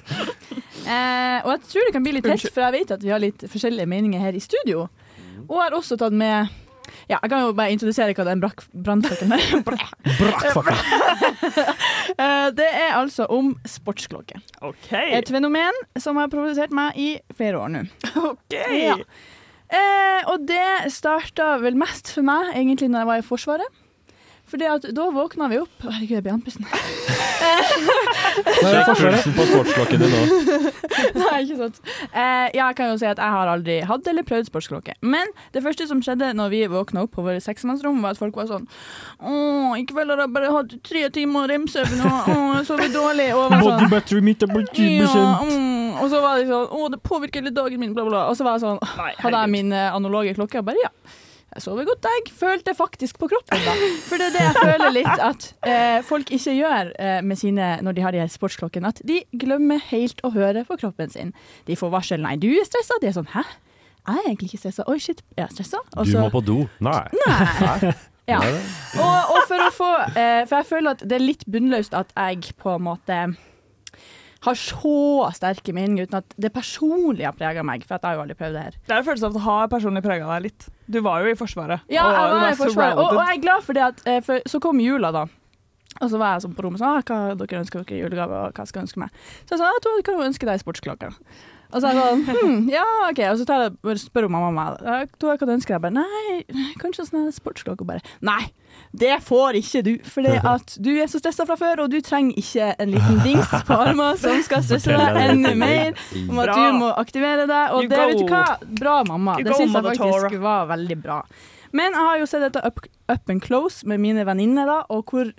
S11: Eh, og jeg tror det kan bli litt tett, for jeg vet at vi har litt forskjellige meninger her i studio. Og har også tatt med ja, Jeg kan jo bare introdusere hva den brakk- brannfakkelen er. Eh, det er altså om sportsklokke. Et fenomen som har provosert meg i flere år nå. Ja. Eh, og det starta vel mest for meg egentlig når jeg var i Forsvaret. Fordi at da våkna vi opp Herregud, jeg blir andpusten.
S9: Sjekk pulsen på sportsklokken din nå.
S11: Nei, ikke sant. Eh, ja, jeg kan jo si at jeg har aldri hatt eller prøvd sportsklokke. Men det første som skjedde når vi våkna opp på våre seksmannsrom, var at folk var sånn Å, i kveld har jeg bare hatt tre timer remsøvn, og å, jeg sover dårlig. Og jeg var sånn,
S8: Bodybattery mitt er på 20
S11: ja, mm. Og så var det sånn Å, det påvirker litt dagen min, bla, bla. bla. Og så var jeg sånn Hadde jeg min eh, analoge klokke? Og bare ja. Jeg sover godt, jeg. Følte det faktisk på kroppen, da. For det er det jeg føler litt at eh, folk ikke gjør eh, med sine når de har de her sportsklokkene. At de glemmer helt å høre på kroppen sin. De får varsel 'nei, du er stressa'. De er sånn 'hæ, jeg er egentlig ikke stressa'. Oi, shit, jeg er stressa. Og
S9: Du
S11: så-
S9: må på do. Nei. Nei.
S11: ja.
S9: Nei.
S11: Og, og for å få eh, For jeg føler at det er litt bunnløst at jeg på en måte har så sterke meninger uten at det personlig har prega meg, for at jeg har jo aldri prøvd det her.
S10: Det er en følelse av å ha personlig prega deg litt. Du var jo i Forsvaret.
S11: Ja,
S10: og
S11: jeg
S10: du
S11: var i Forsvaret, og,
S10: surrounded.
S11: og jeg er glad for det at eh, for, Så kom jula, da. Og så var jeg sånn på rommet sånn ah, Hva dere ønsker dere i julegave, og hva skal jeg ønske meg? Så jeg sa at du kan jo ønske deg sportsklokke. Og så er jeg sånn hm, Ja, OK. Og så tar jeg, bare spør hun mamma om jeg «Ja, Tora, hva du ønsker deg. Jeg bare Nei, kanskje sånn her sportsklokke. Og bare Nei, det får ikke du. Fordi at du er så stressa fra før, og du trenger ikke en liten dings på armen som skal stresse deg
S10: Fortell deg
S11: enda
S10: det.
S11: mer om at
S10: Bra.
S11: du må aktivere deg.
S10: You
S11: Og det, vet
S10: go.
S11: du hva? Bra, mamma.
S10: You
S11: Det
S10: go,
S11: syns jeg
S10: Mother Tora.
S11: faktisk var veldig bra. Men jeg har jo sett dette up, up and close med mine venninner, da, og hvor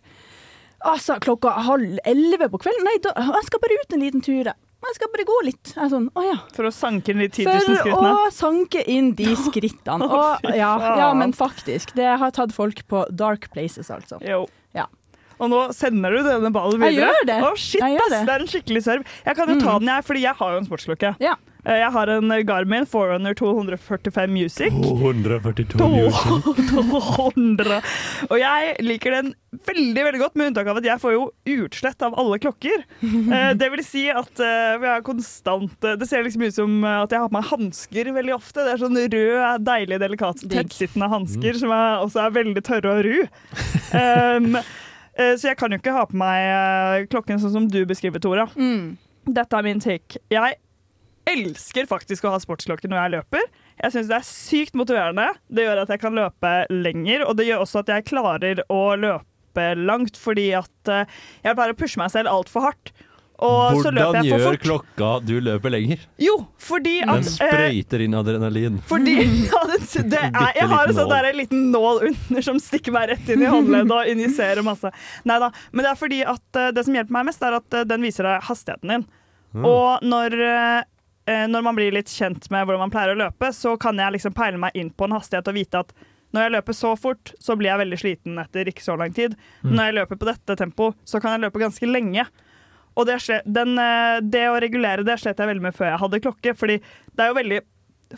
S11: Altså, klokka halv elleve på kvelden? Nei, da, jeg skal bare ut en liten tur. jeg. Jeg skal bare gå litt. Jeg er sånn, å ja.
S10: For å sanke inn de 10 000
S11: For å
S10: skrittene.
S11: sanke inn de skrittene.
S10: Å,
S11: Og,
S10: fy
S11: ja, ja,
S10: faen.
S11: men faktisk. Det har tatt folk på dark places, altså.
S10: Jo.
S11: Ja.
S10: Og nå sender du denne ballen
S11: Jeg
S10: videre.
S11: gjør det.
S10: Å, shit,
S11: Jeg gjør
S10: ass, det.
S11: det. Mm.
S10: er en skikkelig serv. Jeg kan jo ta den, jeg, fordi jeg har jo en sportsklokke. Eh, Jeg har en Garmin Forerunner 245 Music.
S9: 242
S10: 200. Og jeg liker den veldig veldig godt, med unntak av at jeg får jo utslett av alle klokker. Eh, Det vil si at eh, jeg har konstant eh, Det ser liksom ut som eh, at jeg har på meg hansker veldig ofte. Det er sånn rød, deilig, delikat, tettsittende hansker som er, også er veldig tørre og ru. Em, eh, så jeg kan jo ikke ha på meg eh, klokken sånn som du beskriver, Tora. Dette er min take. Jeg elsker faktisk å ha sportsklokke når jeg løper. Jeg syns det er sykt motiverende. Det gjør at jeg kan løpe lenger, og det gjør også at jeg klarer å løpe langt, fordi at eh, jeg pleier å pushe meg selv altfor hardt. Og så løper
S9: Hvordan
S10: jeg for
S9: gjør
S10: fort.
S9: klokka du løper lenger?
S10: Jo, fordi at
S9: Den
S10: eh,
S9: sprøyter inn adrenalin.
S10: fordi ja, det, det er, jeg har en
S9: Bitteliten
S10: sånn
S9: nål.
S10: der liten nål under som stikker meg rett inn i håndleddet og injiserer masse. Neida, Men det er fordi at eh, det som hjelper meg mest, er at eh, den viser deg hastigheten din.
S16: Mm.
S10: Og når, eh, eh, når man blir litt kjent med hvordan man pleier å løpe, så kan jeg liksom peile meg inn på en hastighet og vite at når jeg løper så fort, så blir jeg veldig sliten etter ikke så lang tid.
S16: Mm.
S10: Når jeg løper på dette tempoet, så kan jeg løpe ganske lenge. Og det, sle- den, eh, det å regulere det slet jeg veldig med før jeg hadde klokke. Fordi det er jo veldig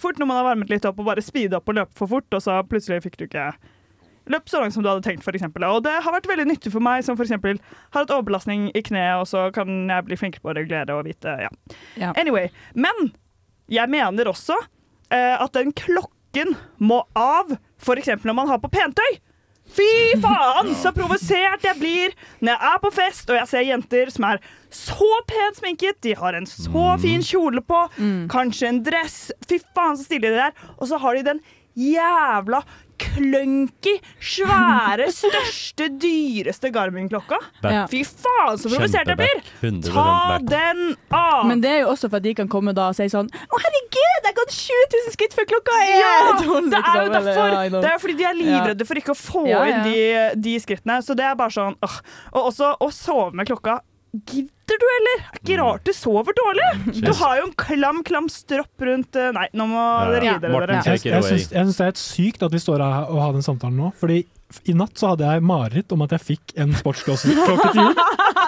S10: fort når man har varmet litt opp og bare speeda opp og løpt for fort, og så plutselig fikk du ikke løp så langt som du hadde tenkt, f.eks. Og det har vært veldig nyttig for meg, som f.eks. har hatt overbelastning i kneet, og så kan jeg bli flinkere på å regulere og vite ja.
S11: Ja.
S10: Anyway. Men jeg mener også eh, at den klokken må av, f.eks. når man har på pentøy. Fy faen, så provosert jeg blir når jeg er på fest og jeg ser jenter som er så pent sminket, de har en så fin kjole på, kanskje en dress. Fy faen, så stilige de er. Og så har de den jævla klønky, svære, største, dyreste Garmin-klokka.
S11: Back.
S10: Fy faen, så provosert jeg blir!
S9: Kjempeback. 100%
S10: Ta
S9: back.
S10: den av!
S11: Men det er jo også for at de kan komme da og si sånn Å, herregud, jeg har gått 7000 skritt før klokka er
S10: Ja!
S11: tolv»,
S10: Det er jo
S11: liksom, eller,
S10: derfor.
S11: I know.
S10: Det er jo fordi de er livredde for ikke å få
S11: Ja, ja.
S10: inn de, de skrittene. Så det er bare sånn åh. Og også å sove med klokka. Gidder du, eller? Er ikke rart du sover dårlig. Du
S8: Jesus.
S10: har jo en klam, klam stropp rundt eh, Nei, nå må dere gi dere, dere.
S8: Jeg, jeg, syns, jeg syns det er helt sykt at vi står her og har den samtalen nå. Fordi i natt så hadde jeg mareritt om at jeg fikk en sportsklokke til jul.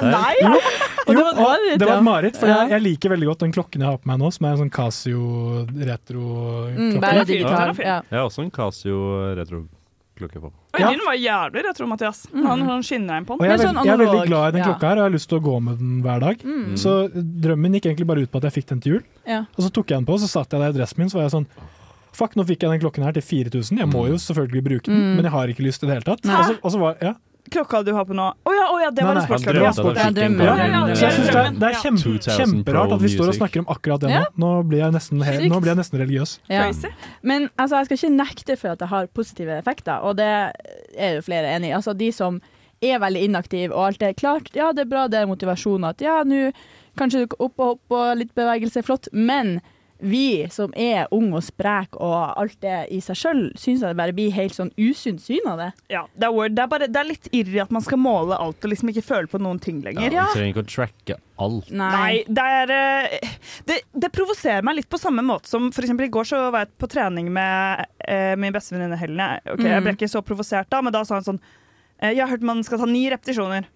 S11: Nei!
S8: Jo,
S11: Og
S8: jo,
S11: det var et
S8: og det
S11: mareritt,
S8: var
S11: ja.
S8: et mareritt, for
S11: Ja.
S8: jeg, jeg liker veldig godt den klokken jeg har på meg nå, som er en sånn Casio retro-klokke.
S11: Mm, bare digital, ja.
S9: Jeg har også en Casio eh, retro-klokke på.
S10: Oi, Din var jævlig retro, Mathias.
S11: Mm.
S10: Han sånn skinner på
S8: Og
S10: den.
S8: jeg er, veldig, jeg er veldig glad i den klokka her, og jeg har lyst til å gå med den hver dag.
S10: Mm.
S8: Så drømmen gikk egentlig bare ut på at jeg fikk den til jul.
S11: Ja.
S8: Og så tok jeg den på, så satt jeg der i dressen min, så var jeg sånn Fuck, nå fikk jeg den klokken her til 4000. Jeg må jo selvfølgelig bruke den,
S10: Mm.
S8: men jeg har ikke lyst i det hele tatt.
S10: Hæ?
S8: Og så, og så var, ja.
S10: Klokka du har på nå. Å ja, å ja, det var en
S8: han
S10: sportsklokka.
S8: drømte at han fikk den
S10: Ja,
S8: gangen.
S9: eh,
S10: ja, ja,
S8: Så jeg synes det er, det er
S10: drømmen.
S8: kjempe,
S9: 2000 Pro
S8: kjemperart at vi står og
S9: Music.
S8: snakker om akkurat det nå.
S11: Ja.
S8: Nå blir jeg nesten, he-
S11: Sykt.
S8: nå blir jeg nesten religiøs.
S11: Ja. Men altså, jeg skal ikke nekte for at det har positive effekter, og det er jo flere enig i. Altså, de som er veldig inaktive og alt det, klart, ja, det er bra, det er motivasjon at ja, nå kanskje du opp og hopp og litt bevegelse, flott, men vi som er unge og sprek og alt det i seg sjøl, syns jeg det bare blir helt sånn usunt syn av det.
S10: Ja, det er, word. Det, er bare, det er litt irri at man skal måle alt og liksom ikke føle på noen ting lenger.
S9: Du trenger ikke å tracke alt.
S10: Nei, det er eh, det, det provoserer meg litt på samme måte som for eksempel i går så var jeg på trening med eh, min beste venninne Helene. Ok, Jeg ble
S11: Mm.
S10: ikke så provosert da, men da sa hun sånn eh, Jeg har hørt man skal ta ni repetisjoner.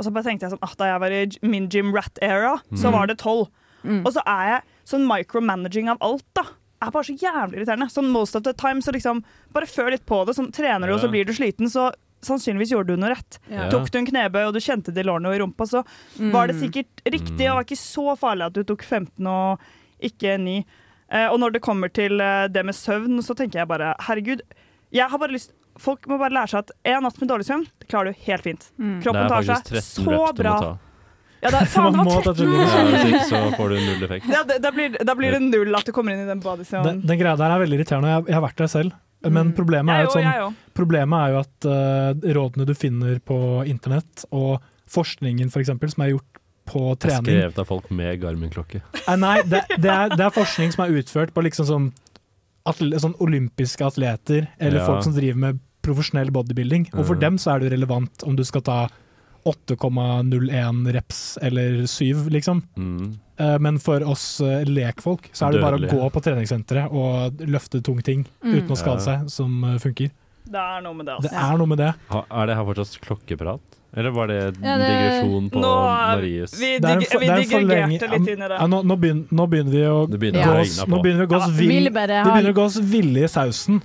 S10: Og så bare tenkte jeg sånn ah, Da jeg var i j- min Jim Rat-era, så
S11: Mm.
S10: var det tolv. Og så er jeg sånn micromanaging av alt, da. Er bare så jævlig irriterende. Sånn most of the time, så liksom Bare føl litt på det. Sånn, trener du, og så
S11: Ja.
S10: blir du sliten, så sannsynligvis gjorde du noe rett.
S11: Ja.
S10: Tok du en knebøy, og du kjente det i lårene og i rumpa, så
S11: Mm.
S10: var det sikkert riktig. Og det var ikke så farlig at du tok 15 og ikke 9. Eh, og når det kommer til eh, det med søvn, så tenker jeg bare herregud. Jeg har bare lyst Folk må bare lære seg at en natt med dårlig søvn, det klarer du helt fint.
S11: Mm.
S10: Kroppen tar seg så bra. Ja, det, er- faen, det
S8: Man
S10: var
S8: må ta
S10: 13!
S9: Ja, hvis ikke så får du null effekt.
S10: Ja, det, da, blir, da blir det null at du kommer inn i
S8: Den,
S10: den badesøvnen.
S8: den greia der er veldig irriterende, og jeg, jeg har vært der selv. Men problemet er, jo,
S10: Mm. Jeg òg,
S8: at
S10: jeg òg.
S8: sånn, problemet er jo at eh, rådene du finner på internett, og forskningen for eksempel, som er gjort på trening
S9: Skrevet av folk med Garmin-klokke.
S8: Eh, Nei, det, det, er, det er forskning som er utført på liksom sånn, atle, sånn olympiske atleter, eller
S9: Ja.
S8: folk som driver med profesjonell bodybuilding. Og for
S9: Mhm.
S8: dem så er det jo relevant om du skal ta 8,01 reps eller 7, liksom.
S9: Mm.
S8: Eh, Men for oss eh, lekfolk så er det bare å
S9: Dødelige.
S8: gå på treningssenteret og løfte tunge ting
S10: Mm.
S8: uten å skade
S9: Ja.
S8: seg, som eh, funker.
S10: Det er noe med det, altså.
S8: Det er noe med det.
S9: Ha, er det her fortsatt klokkeprat? Eller var det en
S10: Ja, det-
S9: digresjon på
S10: Nå er-
S9: Maries
S10: vi-
S8: Det er en
S10: digre-
S8: for- det er en
S10: digregerte
S8: forlenge-
S10: litt inn i det.
S8: Ja, nå, nå, begynner, nå begynner vi å
S9: begynner
S8: gå
S9: å
S8: oss,
S9: regne på.
S8: nå begynner vi å gå oss
S11: Ja,
S8: vill,
S11: vil
S8: det
S11: bare ha-
S8: begynner å gå oss ville i sausen.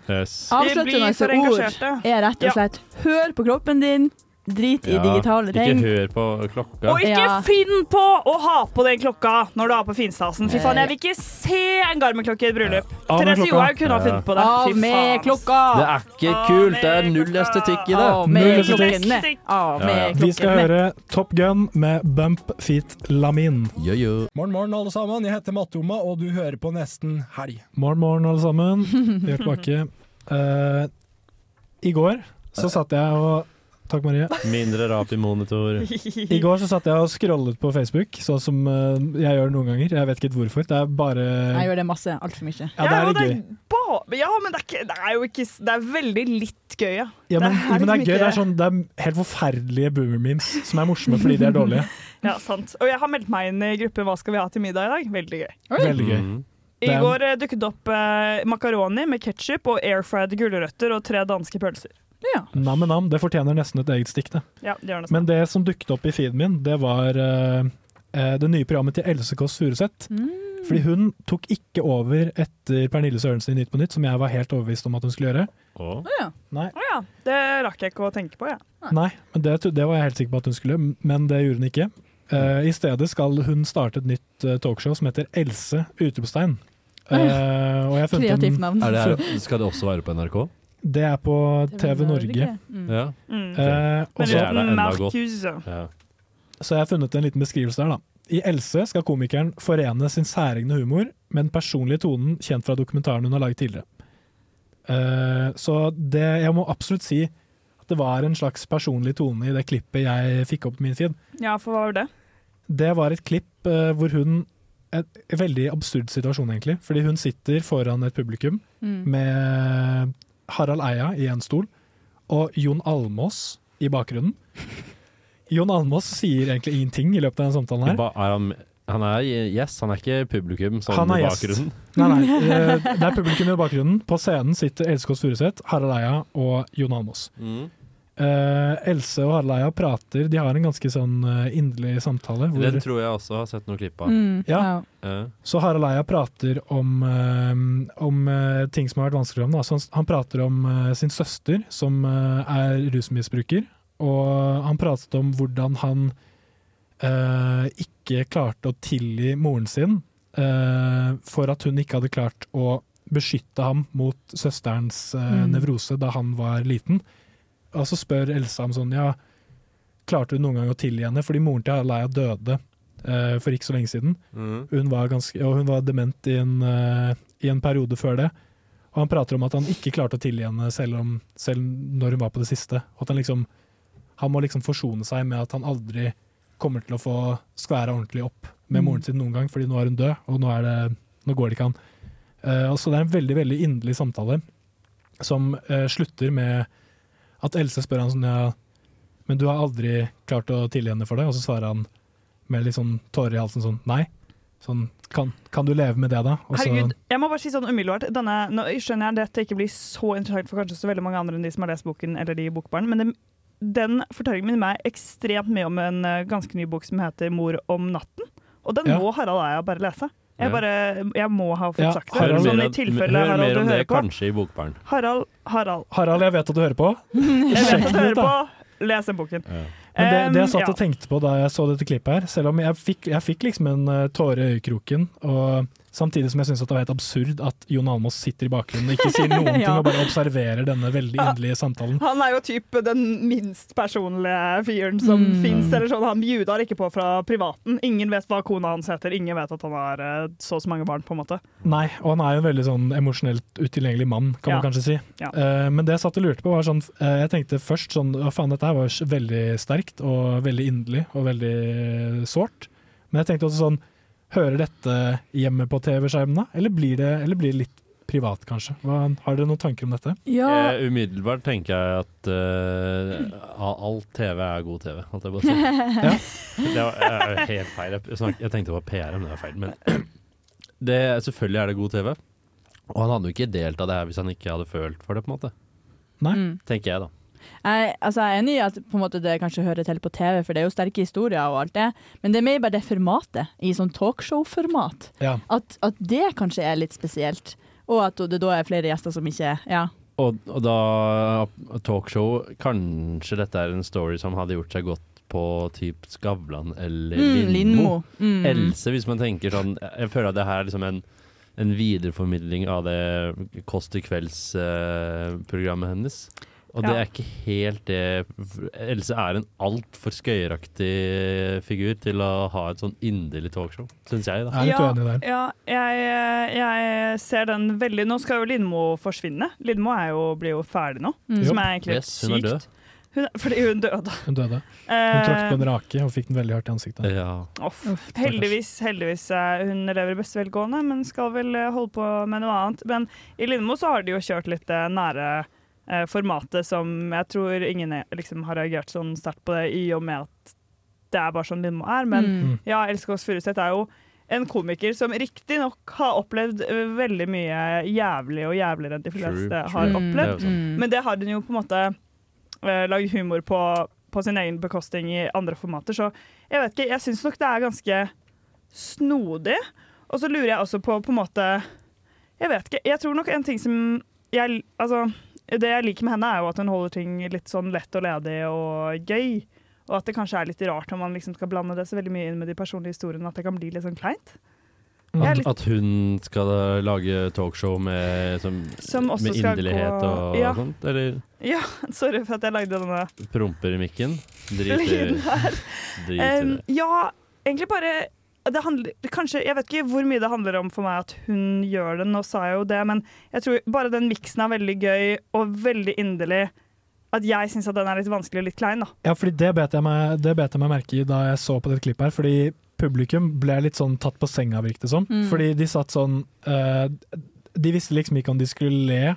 S10: blir for
S11: Avsluttende
S10: engasjerte.
S11: ord er rett og
S10: Ja.
S11: slett hør på kroppen din, drit i
S9: Ja,
S11: digitale ting.
S9: Ikke hør på klokka.
S10: Og ikke finn på å ha på den klokka når du har på finstasen. Fy faen, jeg vil ikke se en Garmin-klokke i et bryllup.
S9: Av med
S10: Therese
S9: klokka.
S10: Johaug kunne ha
S9: Ja.
S10: funnet på det.
S11: Av
S10: Fy faen,
S11: med
S10: ass.
S11: klokka!
S9: Det er ikke kult! Det er null estetikk i det.
S11: Av med klokkene! Av med
S8: Vi
S11: klokkene!
S8: skal høre Top Gun med Bump Feet Lamin.
S4: Morgen, morgen, alle sammen. Jeg heter Mattoma, og du hører på Nesten Helg.
S8: Morgen, morgen, alle sammen. Vi er tilbake. Eh, I går så satt jeg og Takk, Marie.
S9: Mindre rap i monitor.
S8: I går så satt jeg og scrollet på Facebook, sånn som eh, jeg gjør noen ganger. Jeg vet ikke helt hvorfor. Det er bare
S11: Jeg gjør det masse. Altfor mye.
S8: Ja, det er
S10: Ja,
S8: litt gøy.
S10: Ba- Ja, men det er, ikke, det er jo ikke Det er veldig litt gøy, ja.
S8: Ja, men,
S10: Det er
S8: ja, men det er
S10: liksom
S8: gøy. Det
S10: ikke-
S8: er, sånn, det er helt forferdelige boomer-memes som er morsomme fordi de er dårlige.
S10: Ja, sant. Og jeg har meldt meg inn i gruppen Hva skal vi ha til middag i dag? Veldig gøy.
S8: Veldig gøy.
S9: Mm.
S10: I går eh, dukket det opp eh, makaroni med ketsjup og airfried gulrøtter og tre danske pølser.
S8: Nam-nam, det fortjener nesten et eget stikk, det.
S10: Ja, det gjør det
S8: Men det som dukket opp i feeden min, det var eh, eh, det nye programmet til Else Kåss Furuseth. Mm. Fordi hun tok ikke over etter Pernille Sørensen i Nytt på Nytt, som jeg var helt overbevist om at hun skulle gjøre.
S9: Å?
S10: Å ja.
S8: Nei.
S10: Å ja. Det rakk jeg ikke å tenke på, jeg.
S8: Nei, men det, tro- det var jeg helt sikker på at hun skulle, men det gjorde hun ikke. Eh, I stedet skal hun starte et nytt eh, talkshow som heter Else utropstegn. Eh, og jeg har funnet en-
S11: Kreativt navn.
S9: Er det her, skal det også være på NRK?
S8: Det er på TV Norge.
S11: Mm.
S9: Ja.
S10: Mm.
S8: Eh, og
S10: Men
S8: så-
S10: uten Marcus.
S9: Ja.
S8: Så jeg har funnet en liten beskrivelse her, da. I Else skal komikeren forene sin særegne humor med den personlige tonen kjent fra dokumentaren hun har laget tidligere. Eh, så det, jeg må absolutt si at det var en slags personlig tone i det klippet jeg fikk opp på min feed.
S10: Ja, for hva var det?
S8: Det var et klipp eh, hvor hun En en veldig absurd situasjon, egentlig. Fordi hun sitter foran et publikum
S11: Mm.
S8: med Harald Eia i en stol og Jon Almås i bakgrunnen. Jon Almås sier egentlig ingenting i løpet av den samtalen her.
S9: Ba, er han, han er gjest, han er ikke publikum sånn
S8: Han
S9: i
S8: er gjest.
S9: bakgrunnen.
S8: Nei, nei, eh, det er publikum i bakgrunnen. På scenen sitter Else Kåss Furuseth, Harald Eia og Jon Almås.
S9: Mm.
S8: Eh, Else og Harald Eia prater, de har en ganske sånn eh, inderlig samtale. Hvor,
S9: Den tror jeg også har sett noen klipp av.
S8: Mm, Ja.
S9: Ja.
S8: Så Harald Eia prater om, eh, om eh, ting som har vært vanskelig for ham. da. Så han, han prater om eh, sin søster, som eh, er rusmisbruker. Og han pratet om hvordan han eh, ikke klarte å tilgi moren sin eh, for at hun ikke hadde klart å beskytte ham mot søsterens eh,
S4: Mm.
S8: nevrose da han var liten. Og så spør Elsa ham sånn, ja, klarte du noen gang å tilgi henne? Fordi moren til Harald Eia døde eh, for ikke så lenge siden.
S9: Mm.
S8: Hun var ganske, og hun var dement i en, eh, i en periode før det. Og han prater om at han ikke klarte å tilgi henne selv, om, selv når hun var på det siste. Og at han, liksom, han må liksom forsone seg med at han aldri kommer til å få skværa ordentlig opp med
S4: Mm.
S8: moren sin noen gang, fordi nå er hun død, og nå, er det, nå går det ikke an. Eh, og så det er en veldig veldig inderlig samtale som eh, slutter med at Else spør han sånn ja, Men du har aldri klart å tilgi henne for det? Og så svarer han med litt sånn tårer i halsen sånn nei. Sånn kan, kan du leve med det, da? Og så-
S10: Herregud, jeg må bare si sånn umiddelbart denne, Nå skjønner jeg at dette ikke blir så interessant for kanskje så veldig mange andre enn de som har lest boken eller de bokbarn, men den, den fortellingen min meg ekstremt mye om en eh, ganske ny bok som heter 'Mor om natten'. Og den
S8: Ja.
S10: må Harald Eia bare lese. Jeg,
S9: Ja.
S10: bare, jeg må ha fått
S8: Ja,
S10: sagt det.
S9: Hør
S10: sånn
S9: mer,
S10: i
S9: om-
S10: tilfelle
S9: hør
S10: Harald
S9: mer
S10: du
S9: om det
S10: hører på.
S9: kanskje i Bokbarn.
S10: Harald, Harald.
S8: Harald, jeg vet at du hører på.
S10: Jeg vet at du hører
S8: ut, da.
S10: på. Les den boken.
S8: Men det, det
S10: Um,
S8: jeg satt
S10: ja.
S8: og tenkte på da jeg så dette klippet her, selv om jeg fikk, jeg fikk liksom en eh, tåre i øyekroken, og samtidig som jeg syns det var helt absurd at Jon Almaas sitter i bakgrunnen og ikke sier noen ting,
S10: Ja.
S8: og bare observerer denne veldig inderlige samtalen.
S10: Han er jo typ den minst personlige fyren som
S8: Mm.
S10: finnes fins. Eller sånn, han bjuder ikke på fra privaten. Ingen vet hva kona hans heter, ingen vet at han har eh, så og så mange barn. på en måte.
S8: Nei, og han er jo en veldig sånn emosjonelt utilgjengelig mann, kan
S10: Ja.
S8: man kanskje si.
S10: Ja.
S8: Eh, men det jeg satt og lurte på, var sånn eh, Jeg tenkte først sånn Å, faen, dette her var s- veldig sterkt og veldig inderlig og veldig eh, sårt. Men jeg tenkte også sånn Hører dette hjemme på TV-skjermene, eller, blir det- eller blir det litt privat, kanskje? Hva, har dere noen tanker om dette?
S11: Ja.
S9: Eh, umiddelbart tenker jeg at eh, all TV er god TV, holdt jeg på å si.
S11: Ja.
S9: Det var eh, er jo helt feil. Jeg, snak, jeg tenkte det var PR, men det var feil. Men det, selvfølgelig er det god TV. Og han hadde jo ikke delt av det her hvis han ikke hadde følt for det, på en måte.
S8: Nei.
S11: Mm.
S9: Tenker jeg, da.
S11: Jeg, altså jeg er enig i at på en måte det kanskje hører til på TV, for det er jo sterke historier og alt det, men det er mer bare det formatet, i sånn talkshow-format.
S8: Ja.
S11: At, at det kanskje er litt spesielt, og at det da er flere gjester som ikke Ja.
S9: Og, og da talkshow Kanskje dette er en story som hadde gjort seg godt på typ Skavlan eller
S11: Mm,
S9: Lindmo.
S11: Lindmo.
S10: Mhm.
S11: Mm.
S9: Else, hvis man tenker sånn Jeg føler at det her er liksom en, en videreformidling av det Kåss til kvelds-programmet eh, hennes. Og det
S10: Ja.
S9: er ikke helt det Else er en altfor skøyeraktig figur til å ha et sånn inderlig talkshow, syns jeg. da
S10: Ja, jeg, eh, jeg ser den veldig Nå skal jo Lindmo forsvinne. Lindmo er jo, blir jo ferdig nå,
S8: Mm.
S10: som
S8: Jo.
S10: er egentlig
S9: Yes, hun er
S10: sykt.
S9: død.
S10: Hun er- fordi hun døde.
S8: Hun døde.
S10: Eh,
S8: Hun trakk på en rake og fikk den veldig hardt i ansiktet.
S10: Off. Heldigvis, heldigvis eh, hun lever i beste velgående, men skal vel eh, holde på med noe annet. Men i Lindmo så har de jo kjørt litt det nære eh, formatet som jeg tror ingen eh, liksom, har reagert sånn sterkt på det, i og med at det er bare sånn Lindmo er. Men
S11: Mm.
S10: ja, Else Kåss Furuseth er jo en komiker som riktignok har opplevd eh, veldig mye jævlig og jævligere enn de fleste har
S11: true.
S10: opplevd.
S11: Mm,
S9: sånn.
S11: mm.
S10: Men det har hun jo på en måte uh, lage humor på, på sin egen bekostning i andre formater. Så jeg vet ikke, jeg syns nok det er ganske snodig. Og så lurer jeg også på på en måte Jeg vet ikke. Jeg tror nok en ting som jeg Altså, Det jeg liker med henne, er jo at hun holder ting litt sånn lett og ledig og gøy. Og at det kanskje er litt rart når man liksom skal blande det så veldig mye inn med de personlige historiene, at det kan bli litt sånn kleint. Jeg er
S9: At,
S10: litt-
S9: at hun skal eh, lage talkshow med, som,
S10: Som også
S9: med
S10: skal
S9: inderlighet
S10: gå-
S9: og
S10: Ja.
S9: sånt? Eller
S10: Ja, sorry for at jeg lagde denne
S9: promper i mikken? Drit i
S10: lyden her.
S9: drit i
S10: Em,
S9: det.
S10: ja, egentlig bare det handler, kanskje, Jeg vet ikke hvor mye det handler om for meg at hun gjør det. Nå sa jeg jo det, men jeg tror bare den miksen er veldig gøy og veldig inderlig. At jeg syns den er litt vanskelig og litt klein, da.
S8: Ja, fordi det bet jeg meg, det bet jeg meg merke i da jeg så på dette klippet her, fordi publikum ble litt sånn tatt på senga, virket det som.
S10: Mm.
S8: Fordi de satt sånn eh, De visste liksom ikke om de skulle le,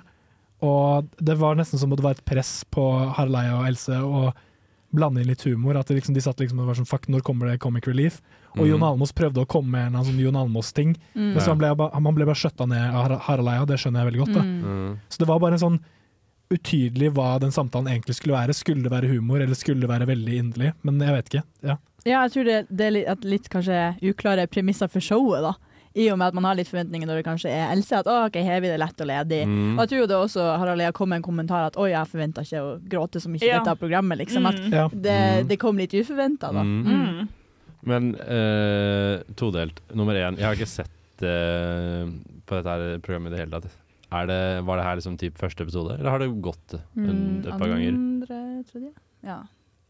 S8: og det var nesten som om det var et press på Harald Eia og Else å blande inn litt humor. At de, liksom, de satt liksom og var sånn Fuck, når kommer det Comic Relief? Og
S9: Mhm.
S8: Jon Almaas prøvde å komme med en eller annen sånn Jon Almaas-ting,
S9: Mm.
S8: men så
S9: Ja.
S8: han ble, ba- man ble bare skjøtta ned av Har- Harald Eia, det skjønner jeg veldig godt. da
S9: Mm. Mm.
S8: så det var bare en sånn utydelig hva den samtalen egentlig skulle være. Skulle det være humor, eller skulle det være veldig inderlig? Men jeg vet ikke. Ja.
S11: Ja, jeg tror det, det er litt, at litt kanskje uklare premisser for showet, da. I og med at man har litt forventninger når det kanskje er Else. At å, ok, her blir det lett og ledig.
S9: Mm.
S11: Og jeg tror jo det også Harald Lea kom med en kommentar at oi, jeg forventa ikke å gråte så mye i
S10: Ja.
S11: dette programmet, liksom. At
S10: Mm. Ja.
S11: det, det kom litt uforventa, da.
S9: Mm.
S11: Mm.
S9: Men eh, todelt. Nummer én, jeg har ikke sett eh, på dette her programmet i det hele tatt. Er det, var det her liksom typ første episode, eller har det gått en, et par ganger?
S11: Mm. Andre, tredje? Ja.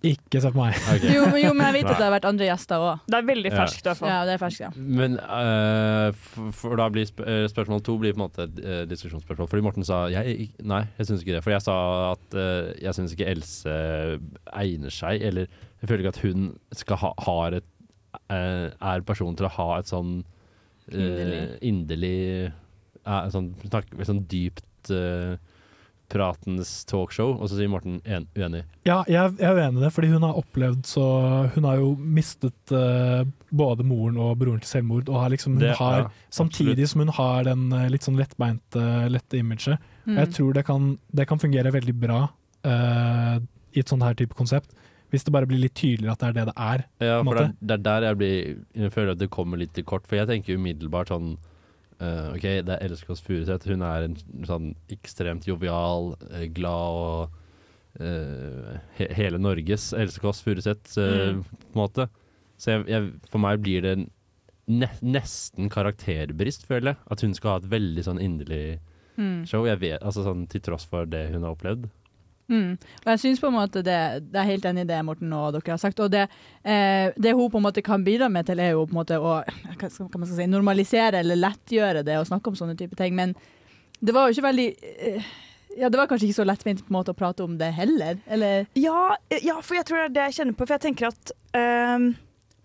S8: Ikke se på meg.
S11: Jo, men- jo, men jeg vet at
S9: Nei.
S11: det har vært andre gjester òg.
S10: Det er veldig
S9: Ja. ferskt, i
S11: ja.
S9: hvert fall.
S11: det er ferskt, ja.
S9: Men eh, for, for da blir sp eh, spørsmål to blir på en måte et eh, diskusjonsspørsmål. Fordi Morten sa jeg, Nei, jeg syns ikke det. For jeg sa at eh, jeg syns ikke Else eh, egner seg, eller jeg føler ikke at hun skal ha, har et eh, Er personen til å ha et sånn eh,
S11: Inderlig.
S9: inderlig eh, sånn, snakk, sånn dypt eh, pratens talkshow. Og så sier Morten en, uenig.
S8: Ja, jeg, jeg er uenig i det, fordi hun har opplevd så Hun har jo mistet eh, både moren og broren til selvmord, og har liksom, hun
S9: Det-
S8: har,
S9: ja,
S8: samtidig som hun har den eh, litt sånn lettbeinte, lette imaget.
S9: Mm.
S8: Og
S11: Mhm.
S8: Jeg tror det kan, det kan fungere veldig bra eh, i et sånt her type konsept, hvis det bare blir litt tydeligere at det er det det er. på
S9: Ja,
S8: en
S9: for
S8: måte.
S9: det, er- det er der jeg, blir, jeg føler at det kommer litt til kort. For jeg tenker umiddelbart sånn eh, OK, det er Else Kåss Furuseth. Hun er en sånn ekstremt jovial, eh, glad og eh, he hele Norges Else Kåss Furuseth, eh,
S16: Mm.
S9: på en måte. Så jeg, jeg, for meg blir det ne nesten karakterbrist, føler jeg. At hun skal ha et veldig sånn inderlig
S11: Mm.
S9: show. Jeg vet, altså sånn Til tross for det hun har opplevd.
S11: Mm. Og jeg synes på en måte det, det er helt enig i det Morten og dere har sagt. Og det, eh, det hun på en måte kan bidra med til, er jo på en måte å hva skal hva man skal si, normalisere eller lettgjøre det å snakke om sånne type ting. Men det var jo ikke veldig eh, Ja, det var kanskje ikke så lettvint på en måte å prate om det heller, eller?
S10: Ja, ja, for jeg tror det er det jeg kjenner på. For jeg tenker at ehm,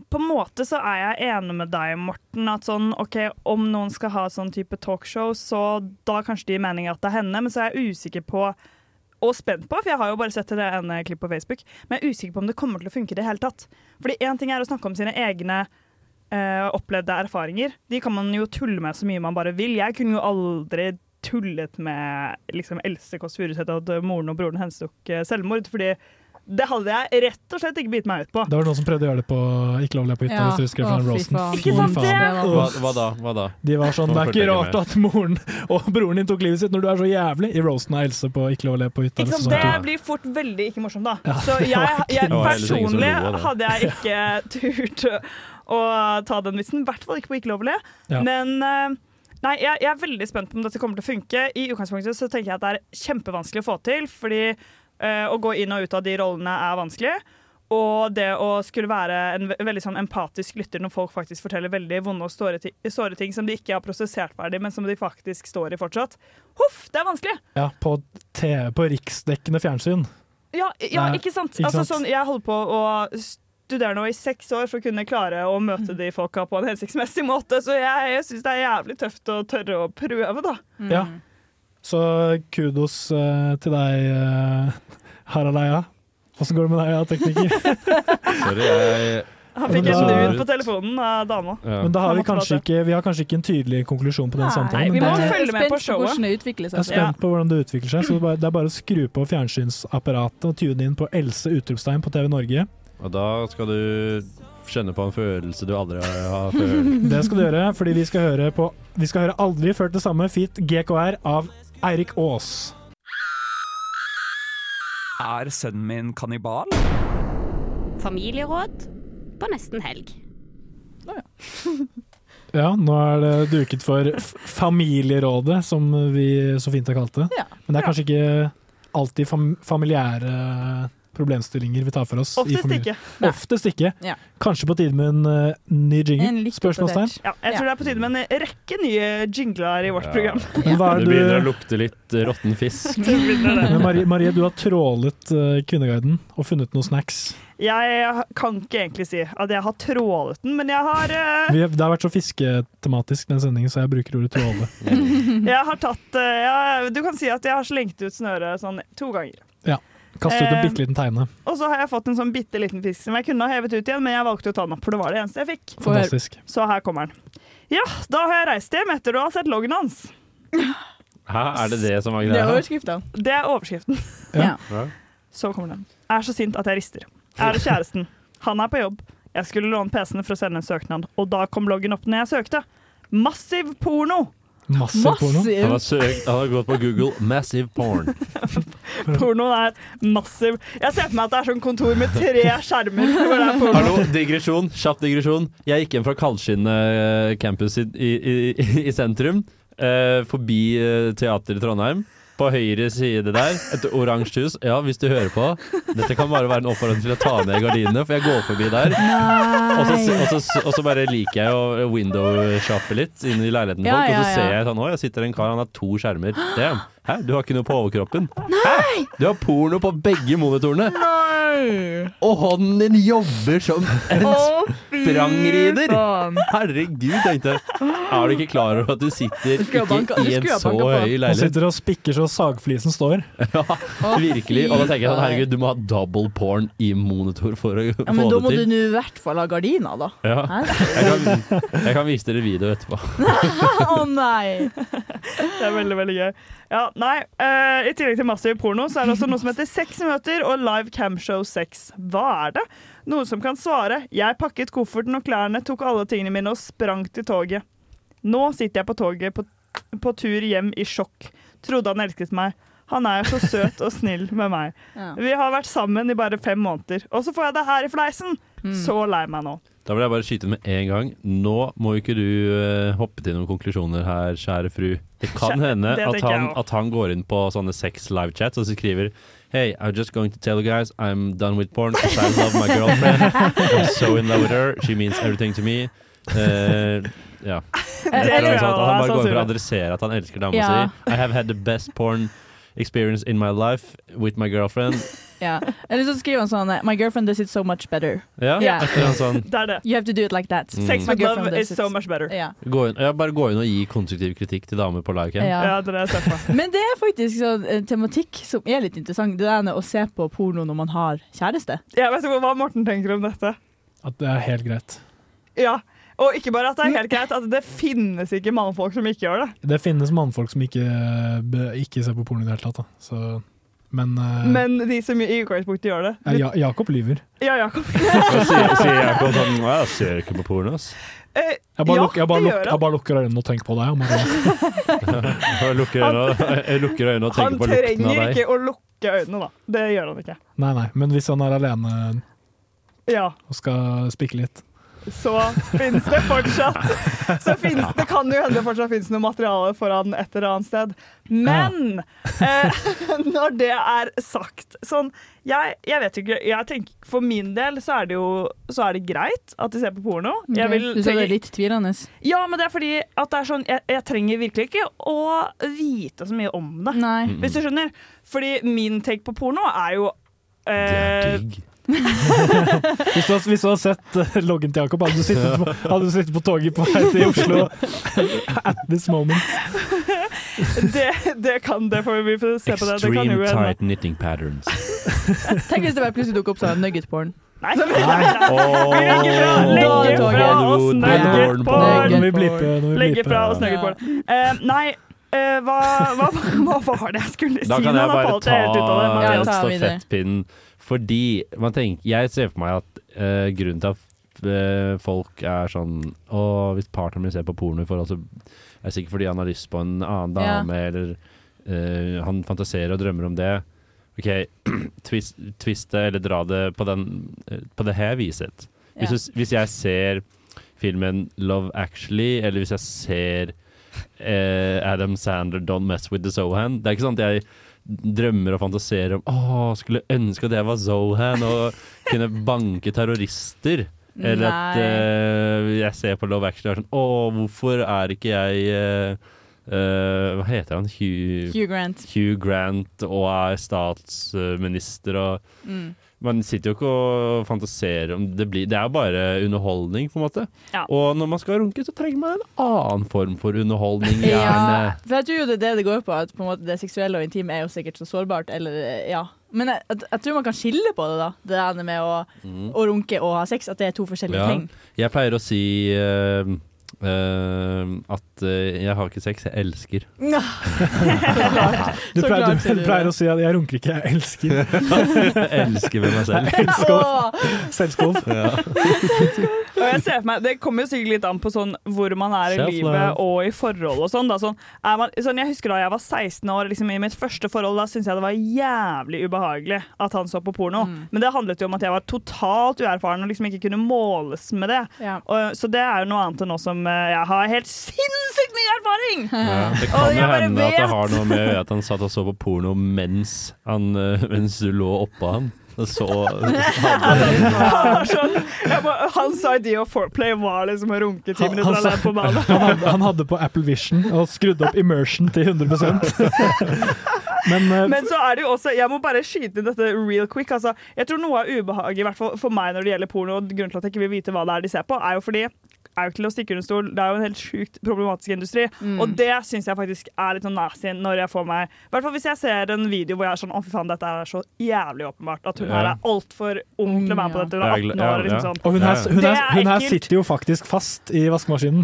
S10: på en måte så er jeg enig med deg, Morten. At sånn, ok, om noen skal ha sånn type talkshow, så da kanskje det gir mening at det er henne. Men så er jeg usikker på, og spent på, for jeg har jo bare sett det ene klippet på Facebook, men jeg er usikker på om det kommer til å funke i det hele tatt. Fordi én ting er å snakke om sine egne eh, opplevde erfaringer. De kan man jo tulle med så mye man bare vil. Jeg kunne jo aldri tullet med liksom, Else Kåss Furuseth og at moren og broren hennes tok eh, selvmord, fordi det hadde jeg rett og slett ikke bitt meg ut på.
S8: Det var noen som prøvde å gjøre det på Ikke lov å le på hytta,
S10: Ja.
S8: hvis du husker
S10: Å,
S8: Fran
S10: fy
S8: Rosen.
S10: faen. Ikke sant,
S8: Fy
S10: det?
S9: Hva,
S8: faen.
S9: hva da? Hva da?
S8: De var sånn,
S9: Nå
S8: Det er
S9: fulgte jeg
S8: ikke
S9: ikke
S8: rart at moren og broren din tok livet sitt når du er så jævlig! I Rosen av Else på Ikke lov å le på hytta. liksom.
S10: Ikke sant?
S8: sesong
S10: Det
S8: to.
S10: blir fort veldig ikke morsomt, da.
S8: Ja,
S10: Så
S8: det var
S10: jeg,
S8: ikke-
S10: jeg
S8: Det var heller ingen som
S10: personlig
S8: lo av det.
S10: hadde jeg ikke turt å ta den vitsen. I hvert fall ikke på Ikke lov å le.
S11: Ja.
S10: Men eh, nei, jeg, jeg er veldig spent på om dette kommer til å funke. I utgangspunktet så tenker jeg at det er kjempevanskelig å få til, fordi eh, å gå inn og ut av de rollene er vanskelig. Og det å skulle være en ve- veldig sånn empatisk lytter når folk faktisk forteller veldig vonde og såre ti- såre ting som de ikke har prosessert ferdig, men som de faktisk står i fortsatt. Huff, det er vanskelig!
S8: Ja, på TV, på riksdekkende fjernsyn.
S10: Ja, ja
S8: Nei,
S10: ikke sant?
S8: ikke
S10: altså,
S8: sant?
S10: Sånn, jeg holder på å studere nå i seks år for å kunne klare å
S8: Mm.
S10: møte de folka på en hensiktsmessig måte, så jeg, jeg syns det er jævlig tøft å tørre å prøve, da.
S8: Ja. Så kudos eh, til deg, uh, Harald Eia. Åssen går det med deg, ja, tekniker?
S9: Sorry, jeg
S10: Han fikk
S8: Men
S10: en
S8: da-
S10: lyd på telefonen av dama.
S8: Men da har
S10: Han
S8: vi
S10: måtte
S8: kanskje
S10: bare se.
S8: ikke, vi har kanskje ikke en tydelig konklusjon på den samtalen.
S10: vi
S8: men
S10: må
S8: det-
S10: følge med på showet.
S11: hvordan det utvikler
S8: Jeg er
S11: seg.
S8: spent på hvordan det utvikler seg. Så det er bare- det er bare å skru på fjernsynsapparatet og tune inn på Else Utropstein på TV Norge.
S9: Og da skal du kjenne på en følelse du aldri har har følt.
S8: Det skal du gjøre, fordi vi skal høre på Vi skal høre Aldri følt det samme, Fit GKR av Eirik Aas.
S3: Er sønnen min kannibal?
S16: Familieråd på nesten helg.
S8: Ja, nå er det duket for f- Familierådet, som vi så fint har kalt det.
S10: Ja.
S8: Men det er kanskje ikke alltid fam familiære problemstillinger vi tar for oss. i
S10: Oftest
S8: familier.
S10: ikke. Nei.
S8: Oftest ikke.
S10: Ja.
S8: Kanskje på tide med en eh, ny
S10: En
S8: jingle?
S10: litt
S8: Spørsmålstegn?
S10: oppdatert. Ja, jeg tror det er på tide med en rekke nye jingler i vårt program.
S8: Men hva er
S9: det
S8: du-
S9: begynner å lukte litt eh, råtten fisk.
S10: Det begynner det.
S8: Men Marie, Marie, du har trålet eh, Kvinneguiden og funnet noen snacks.
S10: Jeg kan ikke egentlig si at jeg har trålet den, men jeg har eh,
S8: Vi, det har vært så fisketematisk den sendingen, så jeg bruker ordet tråle.
S10: Jeg har tatt eh, jeg, Du kan si at jeg har slengt ut snøret sånn to ganger.
S8: Ja. Kaste ut en
S10: Eh,
S8: bitte liten teine.
S10: Og så har jeg fått en sånn bitte liten fisk som jeg kunne ha hevet ut igjen, men jeg valgte å ta den opp, for det var det eneste jeg fikk.
S8: Få høre. Fantastisk.
S10: Så her kommer den. Ja, da har jeg reist hjem etter å ha sett loggen hans.
S9: Hæ, er det det som er greia?
S10: overskriften. Det er overskriften.
S9: Ja.
S10: Så kommer den. Er så sint at jeg rister. Er det kjæresten? Han er på jobb. Jeg skulle låne PC-en for å sende en søknad, og da kom loggen opp når jeg søkte. Massiv porno!
S8: Massiv porno.
S10: Massiv.
S9: Han har, søkt, han har gått på Google 'massive porn'.
S10: Pornoen er massiv. Jeg ser for meg at det er sånn kontor med tre skjermer. Hvor det er porno.
S9: Hallo, digresjon. Kjapp digresjon. Jeg gikk hjem fra kaldskinnende campus i, i, i, i sentrum, eh, forbi eh, teateret i Trondheim. På høyre side der, et oransje hus. Ja, hvis du hører på. Dette kan bare være en oppfordring til å ta ned gardinene, for jeg går forbi der. Og så, og, så, og så bare liker jeg å eh, window-shoppe litt inn i leiligheten til
S11: Ja,
S9: folk, og
S11: ja,
S9: så
S11: ja.
S9: ser jeg sånn Å, jeg sitter en kar, han har to skjermer. Damn. Hæ, du har ikke noe på overkroppen? Hæ? Du har porno på begge monitorene! Og hånden din jobber som en
S10: Å, fy
S9: sprangrider!
S10: faen.
S9: Herregud, tenkte jeg. Er du ikke klar over at du sitter
S10: skulle
S9: ikke
S10: ha banka- du
S9: i en
S10: skulle ha
S9: så
S10: banka på.
S9: høy
S8: Han
S9: leilighet?
S8: sitter og spikker så sagflisen står.
S9: Virkelig. Og da tenker jeg sånn, herregud, du må ha double porn i monitor for å
S11: Ja,
S9: få
S11: men da må
S9: det
S11: du
S9: til.
S11: nå i hvert fall ha gardiner, da.
S9: Ja. Jeg kan, jeg kan vise dere video etterpå.
S10: Å nei! Det er veldig, veldig gøy. Ja, nei, eh, I tillegg til massiv porno, så er det også noe som heter Sex møter og Live Camshow Sex. Hva er det? Noen som kan svare. Jeg pakket kofferten og klærne, tok alle tingene mine og sprang til toget. Nå sitter jeg på toget på, på tur hjem i sjokk. Trodde han elsket meg. Han er jo så søt og snill med meg.
S11: Ja.
S10: Vi har vært sammen i bare fem måneder, og så får jeg det her i fleisen!
S11: Mm.
S10: Så lei meg nå.
S9: Da vil jeg bare skyte med en gang. Nå må jo ikke du eh, hoppe til noen konklusjoner her, kjære fru. Det kan
S10: Kjære-
S9: hende
S10: det
S9: at
S10: tenker
S9: han,
S10: jeg også.
S9: at han går inn på sånne sex live chats og så skriver Hey, I'm just going to tell you guys I'm done with porn 'cause I love my girlfriend. I'm so in love with her. She means everything to me. Eh, ja.
S11: Det
S9: Jeg
S11: tror
S9: tror
S11: jeg
S9: sånn at
S11: også
S9: han
S11: er
S9: bare går inn for å
S11: sannsynlig.
S9: adressere at han elsker dama
S11: Ja.
S9: si. I have had the best porn experience in my life with my girlfriend.
S11: Ja. Eller så skriver han sånn My girlfriend does it so much better.
S9: Ja,
S11: Ja.
S9: et eller annet sånn.
S10: Det er det.
S11: You have to do it like that.
S9: Mm. Sex
S11: My
S10: with love
S11: girlfriend
S10: is
S11: does it.
S10: so much better.
S11: Ja.
S9: Gå inn, ja, bare gå inn og gi konstruktiv kritikk til damer på livecam.
S11: Ja.
S10: Ja, det er det jeg ser for meg.
S11: Men det er faktisk sånn en tematikk som er litt interessant. Det der med å se på porno når man har kjæreste.
S10: Jeg vet ikke hva Morten tenker om dette.
S8: At det er helt greit.
S10: Ja, og ikke bare at det er helt greit, at det finnes ikke mannfolk som ikke gjør det.
S8: Det finnes mannfolk som ikke, be- ikke ser på porno i det hele tatt. Da. Så, men eh,
S10: Men de som i utgangspunktet gjør det.
S8: ja, ja, Jakob lyver.
S10: Ja, Jakob.
S9: Så sier, sier Jakob sånn «Å, Jeg ser ikke på porno, ass.
S10: Eh,
S8: Jeg bare,
S10: ja,
S8: luk, jeg bare,
S10: det
S8: luk,
S10: gjør
S8: jeg bare lukker øynene og tenker på deg. og bare-
S9: Jeg lukker øynene, jeg lukker øynene og
S10: han
S9: tenker på lukten av
S10: trenger
S9: deg.
S10: ikke å lukke øynene, da. Det gjør han ikke.
S8: Nei, nei, men hvis han er alene
S10: Ja,
S8: og skal spikke litt
S10: så finnes det fortsatt. Så finnes, det kan jo hende det fortsatt finnes noe materiale for han et eller annet sted. Men eh, når det er sagt sånn, jeg, jeg vet ikke, jeg tenker, For min del så er det jo så er det greit at de ser på porno. Jeg vil,
S11: du sa det
S10: trenger-
S11: er litt tvilende.
S10: Ja, men det er fordi at det er sånn Jeg, jeg trenger virkelig ikke å vite så mye om det. Hvis du skjønner. Fordi min take på porno er jo eh,
S8: Hvis du, hvis du hadde sett eh, loggen til Jakob, hadde du sittet på, hadde du sittet på toget på vei til Oslo at this moment.
S10: det, det kan det, får vi får se på det. Det kan jo
S9: Extreme
S10: hende.
S9: tight knitting patterns.
S11: Tenk hvis det bare plutselig dukker opp sånn nugget-porn.
S10: Nei!
S9: Legge
S10: fra, legge fra og snugget på.
S8: Når vi bliper, når vi
S10: Legge
S8: bliper.
S10: fra og snugget på. Eh, nei, eh, hva, hva, hva var det jeg skulle si?
S9: Da kan
S10: nå?
S9: jeg bare
S10: falt
S9: ta
S10: helt ut av det. Ja,
S9: eh,
S10: ta videre.
S9: stafettpinnen. Fordi man tenker, jeg ser for meg at eh, grunnen til at eh, folk er sånn Å, hvis partneren min ser på porno i forhold, så er det sikkert fordi han har lyst på en annen
S11: Ja.
S9: dame, eller eh, han fantaserer og drømmer om det. Ok, OK, twist, twiste eller dra det på, den, eh, på det her viset.
S16: Ja.
S9: Hvis, du- hvis jeg ser filmen Love Actually, eller hvis jeg ser eh, Adam Sandler Don't Mess With The Zohan Det er ikke sånn at jeg drømmer og fantaserer om Å, skulle ønske at jeg var Zohan og kunne banke terrorister. Eller at
S16: Nei.
S9: eh, jeg ser på Love Actually og er sånn Å, hvorfor er ikke jeg eh, eh, Hva heter han? Hugh
S11: Hugh Grant.
S9: Hugh Grant og er statsminister og
S11: Mm.
S9: Man sitter jo ikke og fantaserer om det blir Det er jo bare underholdning, på en måte. Og når man skal runke, så trenger man en annen form for underholdning.
S11: Ja,
S9: Gjerne.
S11: for jeg tror jo det er det det går på, at på en måte det seksuelle og intime er jo sikkert så sårbart. Eller, eh, ja. Men jeg, jeg, jeg tror man kan skille på det, da. Det der med å,
S9: Mm.
S11: å runke og ha sex. At det er to forskjellige ting.
S9: Jeg pleier å si eh, eh, at eh, jeg har ikke sex, jeg elsker.
S11: Ja.
S8: Du
S11: Så
S8: pleier,
S11: klart
S8: du,
S11: sier du det.
S8: pleier å si at 'jeg runker ikke, jeg elsker'.
S9: Jeg elsker med meg selv.
S8: Jeg elsker å- Selvskov.
S10: Og jeg ser for meg, Det kommer jo sikkert litt an på sånn hvor man er i
S8: Self-love.
S10: livet og i forhold. og sånn, da, sånn, er man, sånn Jeg husker da jeg var 16 år, liksom i mitt første forhold, da syntes jeg det var jævlig ubehagelig at han så på porno.
S9: Mm.
S10: Men det handlet jo om at jeg var totalt uerfaren og liksom ikke kunne måles med det. Og, så det er jo noe annet enn nå som eh, jeg har helt sinnssykt mye erfaring!
S9: Ja, det
S10: Og
S9: kan jo
S10: jeg bare
S9: hende at det
S10: vet.
S9: har noe med at han satt og så på porno mens, han, eh, mens du lå oppå han. Og så
S10: Han var sånn, jeg må, Hans idea of foreplay var liksom å runke ti minutter
S8: sa-
S10: alene på badet.
S8: han, hadde, han hadde på Apple Vision og skrudde opp immersion til 100 Men, eh,
S10: Men så er det jo også Jeg må bare skyte inn dette real quick. Altså, jeg tror noe av ubehaget, i hvert fall for meg når det gjelder porno, og grunnen til at jeg ikke vil vite hva det er de ser på, er jo fordi er jo ikke til å stikke under stol. Det er jo en helt sjukt problematisk industri.
S11: Mm.
S10: Og det syns jeg faktisk er litt sånn nasty når jeg får meg I hvert fall hvis jeg ser en video hvor jeg er sånn Å, fy faen, dette er så jævlig åpenbart. At hun
S8: Ja.
S10: her er altfor ung til å være med på dette. Hun er 18 år. Liksom sånn.
S8: Og hun her, hun,
S10: Det
S8: her, hun her
S10: ekkelt.
S8: sitter jo faktisk fast i vaskemaskinen.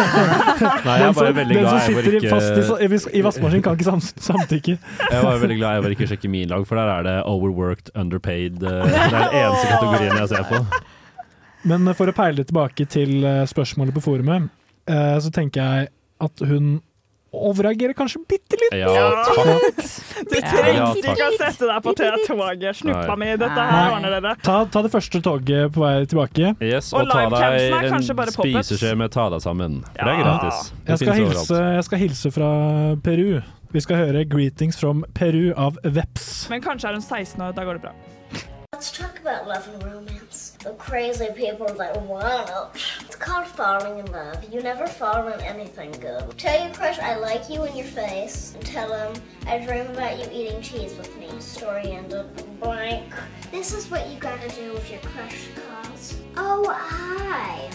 S9: Nei, jeg er
S8: Den som-
S9: bare veldig
S8: den
S9: glad
S8: som
S9: jeg var
S8: sitter i-
S9: ikke-
S8: fast i, i, i vaskemaskinen, kan ikke sam samtykke.
S9: Jeg var jo veldig glad jeg bare ikke sjekker min lag, for der er det overworked, underpaid. eh, Det er den eneste kategorien jeg ser på.
S8: Men eh, for å peile det tilbake til eh, spørsmålet på forumet, eh, så tenker jeg at hun overreagerer kanskje bitte litt.
S9: Ja, takk.
S10: Du trengte ikke å sette deg på T-toget. Snuppa mi,
S8: Nei.
S10: dette her ordner dere.
S8: Ta, ta det første toget på vei tilbake.
S9: Yes,
S10: Og
S9: og ta
S10: livecamsen er
S9: deg en
S10: kanskje bare pop-ups.
S9: spiseskje med ta deg sammen. For det er
S8: Ja.
S9: gratis. Det
S8: Jeg skal,
S9: finnes
S8: hilse, jeg skal hilse fra Peru. Vi skal høre 'Greetings from Peru' av Veps.
S10: Men kanskje er hun 16 år, da går det bra.
S17: Let's talk about love and romance. The crazy people that want it. It's called falling in love. You never fall in anything good. Tell your crush I like you in your face. And tell him I dream about you eating cheese with me. Story ended blank. This is what you gotta do if your crush calls. Oh, I.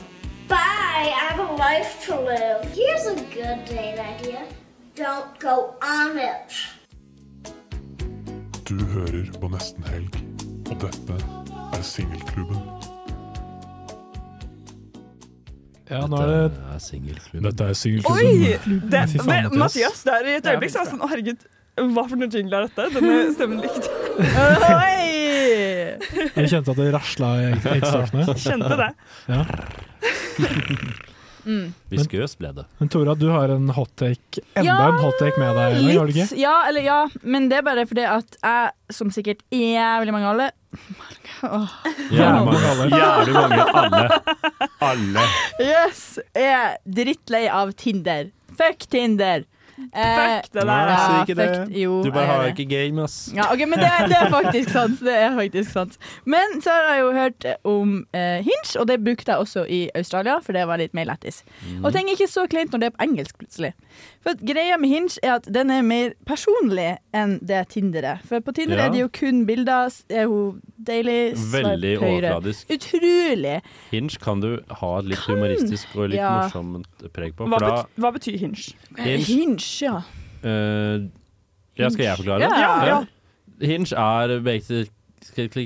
S17: Bye! I have a life to live. Here's a good date idea. Don't go on it.
S15: Du hører på Nesten Helg, og dette er Singelklubben.
S8: Ja, nå er
S9: det singelklubben.
S8: Dette er liksom.
S10: Oi!
S8: singelklubben.
S10: Det,
S8: Fy faen,
S10: men, Mathias, det er i et
S8: Det er
S10: øyeblikk så er jeg
S8: veldig
S10: sånn Å, herregud, hva for noe jingle er dette? Denne stemmen likte
S11: jeg.
S8: Jeg kjente at det rasla i egg- eggsakene.
S10: Kjente det.
S8: Ja.
S11: Mm.
S9: Viskøs ble det.
S8: Men Tora, du har en hot take. Enda
S11: Ja,
S8: en hot take med deg. Eller, har du
S11: Litt.
S8: ikke?
S11: Ja, eller ja. Men det er bare fordi at jeg, som sikkert jævlig mange alle Åh.
S9: Jævlig mange. Jævlig mange. Alle. Alle.
S11: Yes! Er drittlei av Tinder. Fuck Tinder. Eh,
S9: Fuck det der. Nei,
S10: altså,
S11: ja,
S9: jeg sier ikke det.
S11: fuck- Jo,
S9: Du bare
S11: jeg gjør
S9: har
S11: det.
S9: ikke game, ass.
S11: Ja, ok, men det, det er faktisk sant. Det er faktisk sant. Men så har jeg jo hørt om eh, Hinge, og det brukte jeg også i Australia, for det var litt mer lættis.
S9: Mm.
S11: Og ting er ikke så kleint når det er på engelsk, plutselig. For at greia med Hinge er at den er mer personlig enn det Tinder er. For på Tinder
S9: Ja.
S11: er det jo kun bilder. s- Er hun deilig? Swipe
S9: Veldig
S11: høyre.
S9: overfladisk.
S11: Utrolig.
S9: Hinge kan du ha et litt humoristisk og litt
S11: ja.
S9: morsomt preg på.
S10: Hva,
S9: For da
S10: bet, hva betyr hinge?
S9: Hinge.
S11: ja.
S9: Eh, ja, skal jeg
S10: Ja,
S9: forklare?
S10: ja, ja.
S9: Hinge er basically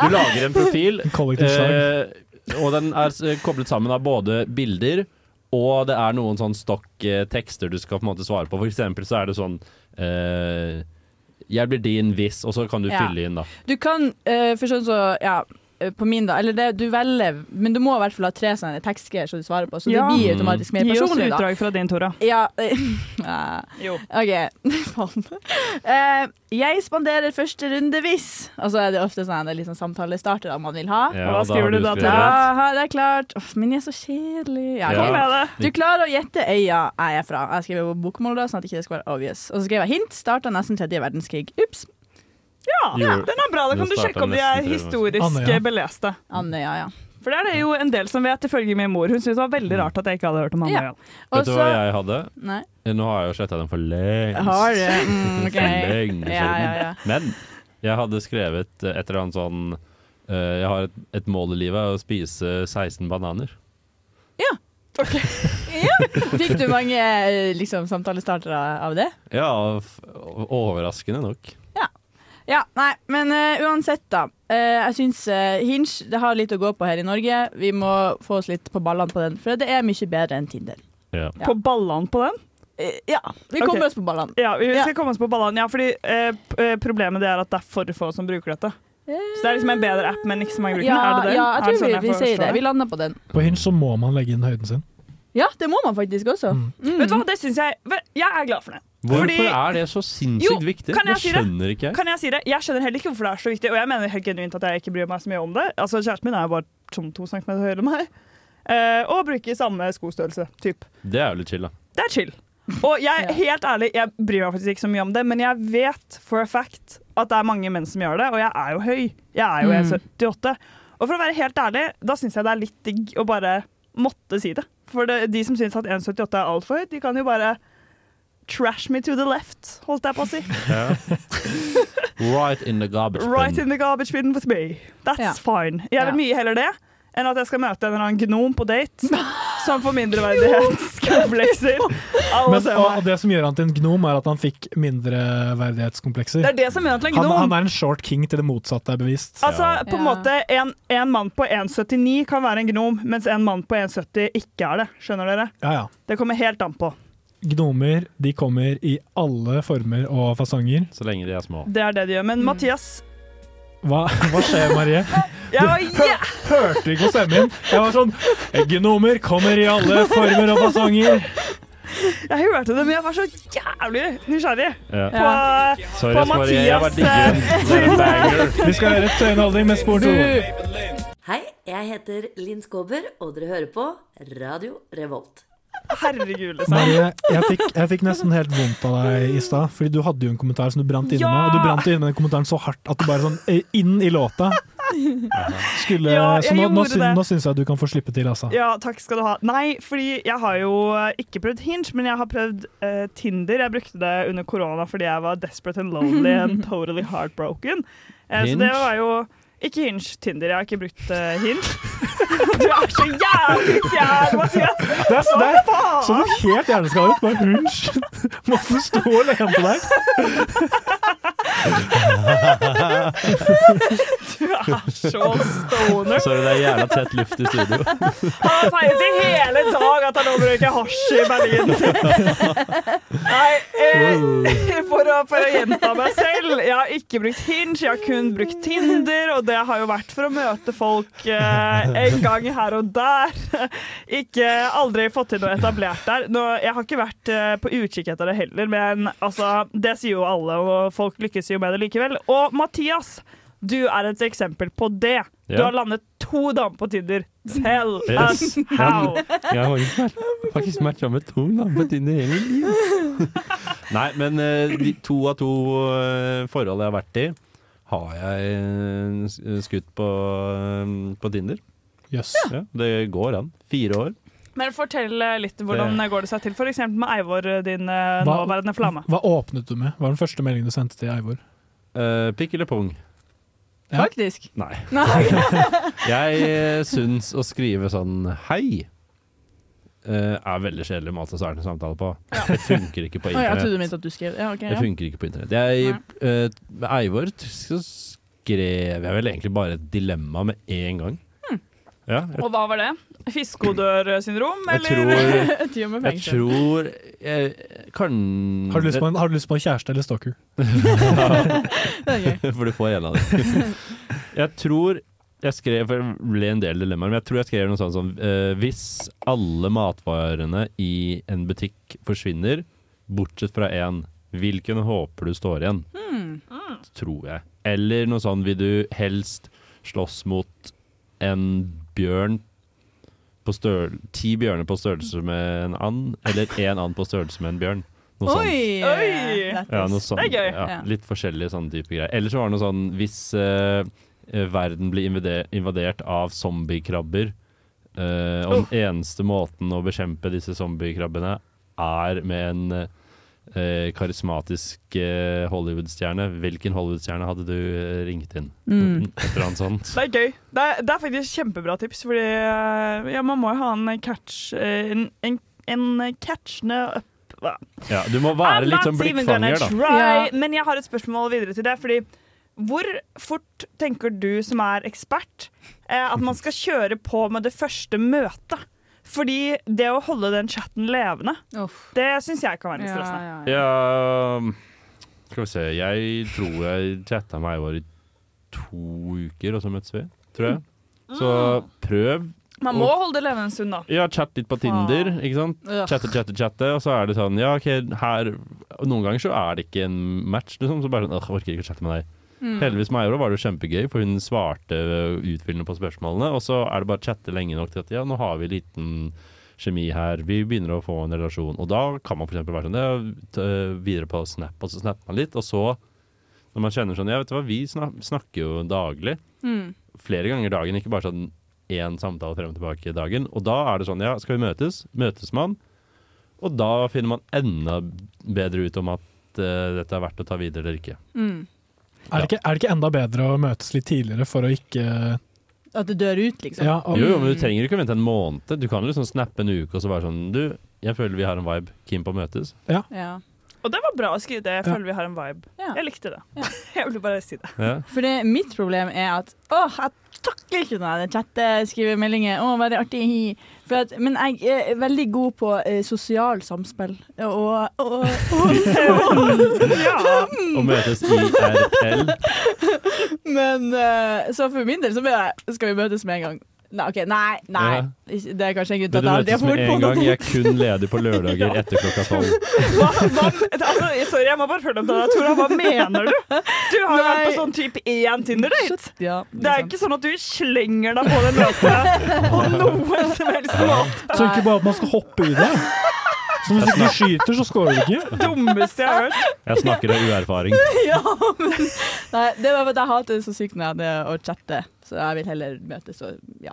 S9: Du lager en profil,
S8: kollektiv slag.
S9: eh, og den er s- koblet sammen av både bilder og det er noen sånn stokk eh, tekster du skal på en måte svare på. For eksempel så er det sånn eh, Jeg blir din hvis, og så kan du
S11: Ja.
S9: fylle inn, da.
S11: Du kan, eh, for sånn så, ja eh, på min, da. Eller det, du velger, men du må i hvert fall ha tre sånne tekstgreier som du svarer på, så
S10: Ja.
S11: det blir automatisk
S9: Mm.
S11: mer
S10: Gi oss
S11: personlig, da.
S10: utdrag fra din, Tora.
S11: Ja eh,
S10: Jo.
S11: OK. Faen. Eh, jeg spanderer første runde hvis Og så er det ofte sånn en liten samtalestarter da, man vil ha.
S10: Ja, Hva da skriver har du du da til? skrevet.
S11: Ja, det er klart. Uff, men jeg er så kjedelig. Ja,
S10: Ja.
S11: ok.
S10: Kom med
S11: Du klarer å gjette øya jeg er fra. Jeg skrev jo bokmål da, sånn at ikke det skal være obvious. Og så skrev jeg hint. Starta nesten tredje verdenskrig. Ups.
S10: Ja,
S11: Jo.
S10: den er bra. Da kan
S11: Nå
S10: du
S11: starter
S10: sjekke om de
S11: nesten
S10: er
S11: tre
S10: historisk
S11: minutter. Andøya.
S10: beleste.
S11: Andøya, ja.
S10: For det er det jo en del som vet, ifølge min mor. Hun syntes det var veldig rart at jeg ikke hadde hørt om Andøya.
S9: Vet du
S10: altså-
S9: hva jeg hadde? Eh,
S11: Nei.
S9: Nå har jeg jo sletta den for lengst.
S10: Har du? Mm, ok.
S9: For lenge
S10: Ja,
S9: siden.
S10: ja, ja.
S9: Men jeg hadde skrevet eh, et eller annet sånn eh, Jeg har et, et mål i livet, er å spise 16 bananer.
S11: Fikk du mange eh, liksom, samtalestartere av det?
S9: Ja, f overraskende nok.
S11: Ja, nei, men eh, uansett da. Eh, jeg syns uh, Hinge det har litt å gå på her i Norge. Vi må få oss litt på ballene på den, for det er mye bedre enn Tinder. Eh,
S10: På ballene på den?
S11: Ja, vi kommer
S10: Ok.
S11: oss på ballene.
S10: Ja, vi skal
S11: Ja.
S10: komme oss på ballene. Ja, fordi eh, p- eh, problemet det er at det er for få som bruker dette. Så det er liksom en bedre app, men ikke så mange bruker den.
S11: Ja,
S10: er det det?
S11: ja, jeg
S10: Er det
S11: tror
S10: sånn
S11: vi, vi
S10: forstår
S11: sier det. Vi lander på den.
S8: På Hinge så må man legge inn høyden sin.
S11: Ja, det må man faktisk også.
S9: Mm,
S10: Vet
S11: Mm.
S10: du hva, det syns jeg vel, Jeg er glad for det.
S9: Hvorfor
S10: Fordi-
S9: er det så sinnssykt viktig?
S10: kan jeg
S9: det
S10: si det?
S9: skjønner ikke jeg.
S10: Kan jeg si det? Jeg skjønner heller ikke hvorfor det er så viktig, og jeg mener helt genuint at jeg ikke bryr meg så mye om det. Altså, Kjæresten min er jo bare som to centimeter høyere enn meg, eh, og bruker samme skostørrelse. Typ.
S9: Det er jo litt chill, da.
S10: Det er chill. Og jeg, helt ærlig, jeg bryr meg faktisk ikke så mye om det, men jeg vet for a fact at det er mange menn som gjør det, og jeg er jo høy. Jeg er jo
S11: Mm.
S10: 1,78. Og for å være helt ærlig, da syns jeg det er litt digg å bare måtte si det. For det, de som syns at 1,78 er altfor høyt, de kan jo bare trash me to the left, holdt jeg på å si.
S9: Right in the garbage bin.
S10: Right in the garbage bin with me. That's fine. Jeg vil mye heller det enn at jeg skal møte en eller annen gnom på date som får mindreverdighetskomplekser. av å
S8: Men,
S10: se
S8: og,
S10: meg.
S8: og det som gjør han til en gnom, er at han fikk mindreverdighetskomplekser.
S10: Det er det som gjør han til en
S8: Han,
S10: gnom.
S8: han er en short king til det motsatte er bevist.
S10: Altså, på en måte, en, en mann på 1,79 kan være en gnom, mens en mann på 1,70 ikke er det. Skjønner dere?
S8: Ja, ja.
S10: Det kommer helt an på.
S8: Gnomer de kommer i alle former og fasonger.
S9: Så lenge de er små.
S10: Det er det de gjør. Men Mathias
S8: Hva, hva skjer, Marie?
S10: jeg var, yeah!
S8: Hørte du ikke stemmen min? Jeg var sånn Gnomer kommer i alle former og fasonger.
S10: Jeg hørte det, men jeg var så jævlig nysgjerrig
S8: Ja.
S10: på,
S8: Sorry,
S10: på
S8: ass, Marie, jeg var
S10: Mathias.
S8: digger.
S10: eh,
S8: Det er en banger. Vi skal høre Tøyenholding med spor to.
S16: Hei, jeg heter Linn Skåber, og dere hører på Radio Revolt.
S10: Herregud, liksom.
S8: Marie, jeg fikk, jeg fikk nesten helt vondt av deg i stad, fordi du hadde jo en kommentar som du brant inne
S10: Ja!
S8: med. Og du brant inne med den kommentaren så hardt at du bare sånn eh, inn i låta skulle
S10: Ja, jeg
S8: Så nå, nå,
S10: gjorde
S8: syn,
S10: det.
S8: nå syns jeg at du kan få slippe til, altså.
S10: Ja, takk skal du ha. Nei, fordi jeg har jo eh, ikke prøvd Hinge, men jeg har prøvd eh, Tinder. Jeg brukte det under korona fordi jeg var desperate and lonely and totally heartbroken. Eh, så det
S9: Hinge?
S10: var jo ikke Hinge, Tinder. Jeg har ikke brukt eh, Hinge. du er så jævlig fjern, Mathias!
S8: Det er, så- det er som du helt hjerneskadet. Bare hunch. Måtte stå og lene deg.
S10: Du er så stoner.
S9: Sorry, det er jævla tett luft i studio.
S10: Han har feiret i hele dag at han nå bruker hasj i Berlin. Nei, eh, for, å, for å gjenta meg selv. Jeg har ikke brukt Hinge, jeg har kun brukt Tinder, og det har jo vært for å møte folk eh, en gang her og der. Ikke aldri fått til noe etablert der. Nå, jeg har ikke vært eh, på utkikk etter det heller, men altså, det sier jo alle, og folk lykkes jo med det likevel. Og Mathias, du er et eksempel på det. Du
S9: Ja.
S10: har landet to damer på Tinder. Tell
S9: Yes.
S10: us how.
S9: Jeg, jeg har ikke vært- faktisk matcha med to damer på Tinder hele livet. Nei, men eh, de to av to eh, forhold jeg har vært i, har jeg eh, s- skutt på, eh, på Tinder. Ja, det går an. Fire år.
S10: Men fortell eh, litt hvordan
S9: Det-
S10: går det seg til f.eks. med Eivor, din eh, nåværende flamme.
S8: hva åpnet du med? Hva var den første meldingen du sendte til Eivor?
S9: Eh, pikk eller pung?
S11: Faktisk.
S9: Nei.
S11: Nei.
S9: Jeg eh, syns å skrive sånn hei eh, er veldig kjedelig måte å starte en samtale på. Det funker ikke på
S11: Å, jeg trodde du
S9: internett.
S11: mente at du skrev ja, ok,
S9: Det
S11: ja.
S9: funker ikke på internett. Jeg, eh, med Eivor t- så skrev jeg vel egentlig bare et dilemma med en gang. Ja, jeg,
S10: Og hva var det? Fiskodørsyndrom,
S9: Jeg
S10: eller?
S9: tror- jeg tror jeg, kan
S8: Har du lyst på en, har du lyst på en kjæreste eller stalker?
S9: For du får en av dem. Jeg tror Jeg skrev, for det ble en del dilemmaer, men jeg tror jeg skrev noe sånt som eh, Hvis alle matvarene i en butikk forsvinner, bortsett fra én, hvilken håper du står igjen? Tror jeg. Eller noe sånn Vil du helst slåss mot en bjørn på størr- Ti bjørner på størrelse med en and, eller én and på størrelse med en bjørn? Noe sånt.
S11: Oi!
S10: Oi!
S9: Ja, noe sånn,
S10: Det er gøy.
S9: Ja, litt forskjellige sånne type greier. Eller så var det noe sånn Hvis eh, eh, verden blir invadert, invadert av zombiekrabber, eh, og den
S10: Oh.
S9: eneste måten å bekjempe disse zombiekrabbene er med en eh, karismatisk eh, Hollywood-stjerne, hvilken Hollywood-stjerne hadde du eh, ringt inn?
S10: Mm.
S9: Et eller annet sånt.
S10: Det er gøy. Det er, det er faktisk kjempebra tips, fordi eh, ja, man må jo ha en catch eh, En, en, en catchende up hva?
S9: Ja, du må være
S10: I'm
S9: litt
S10: not
S9: sånn
S10: even gonna
S9: blikkfanger, da.
S10: try. Men jeg har et spørsmål videre til det. Fordi hvor fort tenker du som er ekspert, eh, at man skal kjøre på med det første møtet? Fordi det å holde den chatten levende, det syns jeg kan være litt
S11: Ja,
S10: stressende.
S9: Ja Skal vi se. Jeg tror jeg chatta med Eivar i to uker, og så møttes vi, tror jeg. Så prøv.
S10: Man må
S9: å-
S10: holde det levende en stund, da.
S9: ja, chat litt på Tinder, ikke sant?
S10: Ugh.
S9: Chatte, chatte, chatte, og så er det sånn Ja, OK, her og Noen ganger så er det ikke en match, liksom. Så bare sånn Åh, orker ikke å chatte med deg.
S10: Mm.
S9: Heldigvis med Eiro var det jo kjempegøy, for hun svarte utfyllende på spørsmålene. Og så er det bare å chatte lenge nok til at ja, nå har vi liten kjemi her, vi begynner å få en relasjon. Og da kan man f.eks. være sånn ja, t- videre på Snap, og så snapper man litt, og så når man kjenner sånn Ja, vet du hva, vi snak snakker jo daglig
S11: Mm.
S9: flere ganger dagen, ikke bare sånn én samtale frem og tilbake i dagen. Og da er det sånn, ja, skal vi møtes? Møtes man. Og da finner man enda bedre ut om at eh, dette er verdt å ta videre eller ikke.
S10: mm.
S8: Er det, ikke, er det ikke enda bedre å møtes litt tidligere for å ikke
S11: At det dør ut, liksom.
S8: Ja,
S9: Jo, jo, men du trenger ikke å vente en måned. Du kan liksom snappe en uke og så være sånn, du, jeg føler vi har en vibe, keen på å møtes.
S11: Ja.
S10: Og det var bra å skrive det. Jeg
S9: Ja.
S10: føler vi har en vibe. Jeg likte det. Jeg ville bare si det.
S9: Ja.
S11: For det, mitt problem er at åh, jeg takler ikke når jeg chatter, skriver meldinger. Åh, veldig artig. hi». For at, men jeg er veldig god på eh, sosial samspill. Og, og, og,
S9: Å møtes IRL.
S11: Men eh, så for min del så blir jeg Skal vi møtes med en gang? Nei, ok, nei, nei.
S9: Ja.
S11: Ikke- Det er kanskje en grunn
S9: Men
S11: til
S9: du
S11: at jeg aldri
S9: møtes
S11: har
S9: med
S11: vært på
S9: en gang.
S11: noe.
S9: Jeg er kun ledig på lørdager etter klokka tolv.
S10: Hva, hva, altså, sorry, jeg må bare følge opp det der. Tora, hva mener du? Du har jo vært på sånn type én Tinder-date. det er ikke sånn at du slenger deg på den låta på noen som helst måte.
S8: Så ikke bare at man skal hoppe i det. Så hvis ikke du skyter, så scorer du ikke.
S10: Dummeste jeg har hørt.
S9: Jeg snakker av uerfaring.
S11: ja, men nei, det var fordi jeg hater det så sykt når jeg hadde å chatte, så jeg vil heller møtes og ja.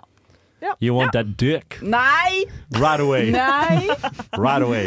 S9: You want that dick?
S11: Nei!
S9: Right away.
S11: Nei!
S9: Right away.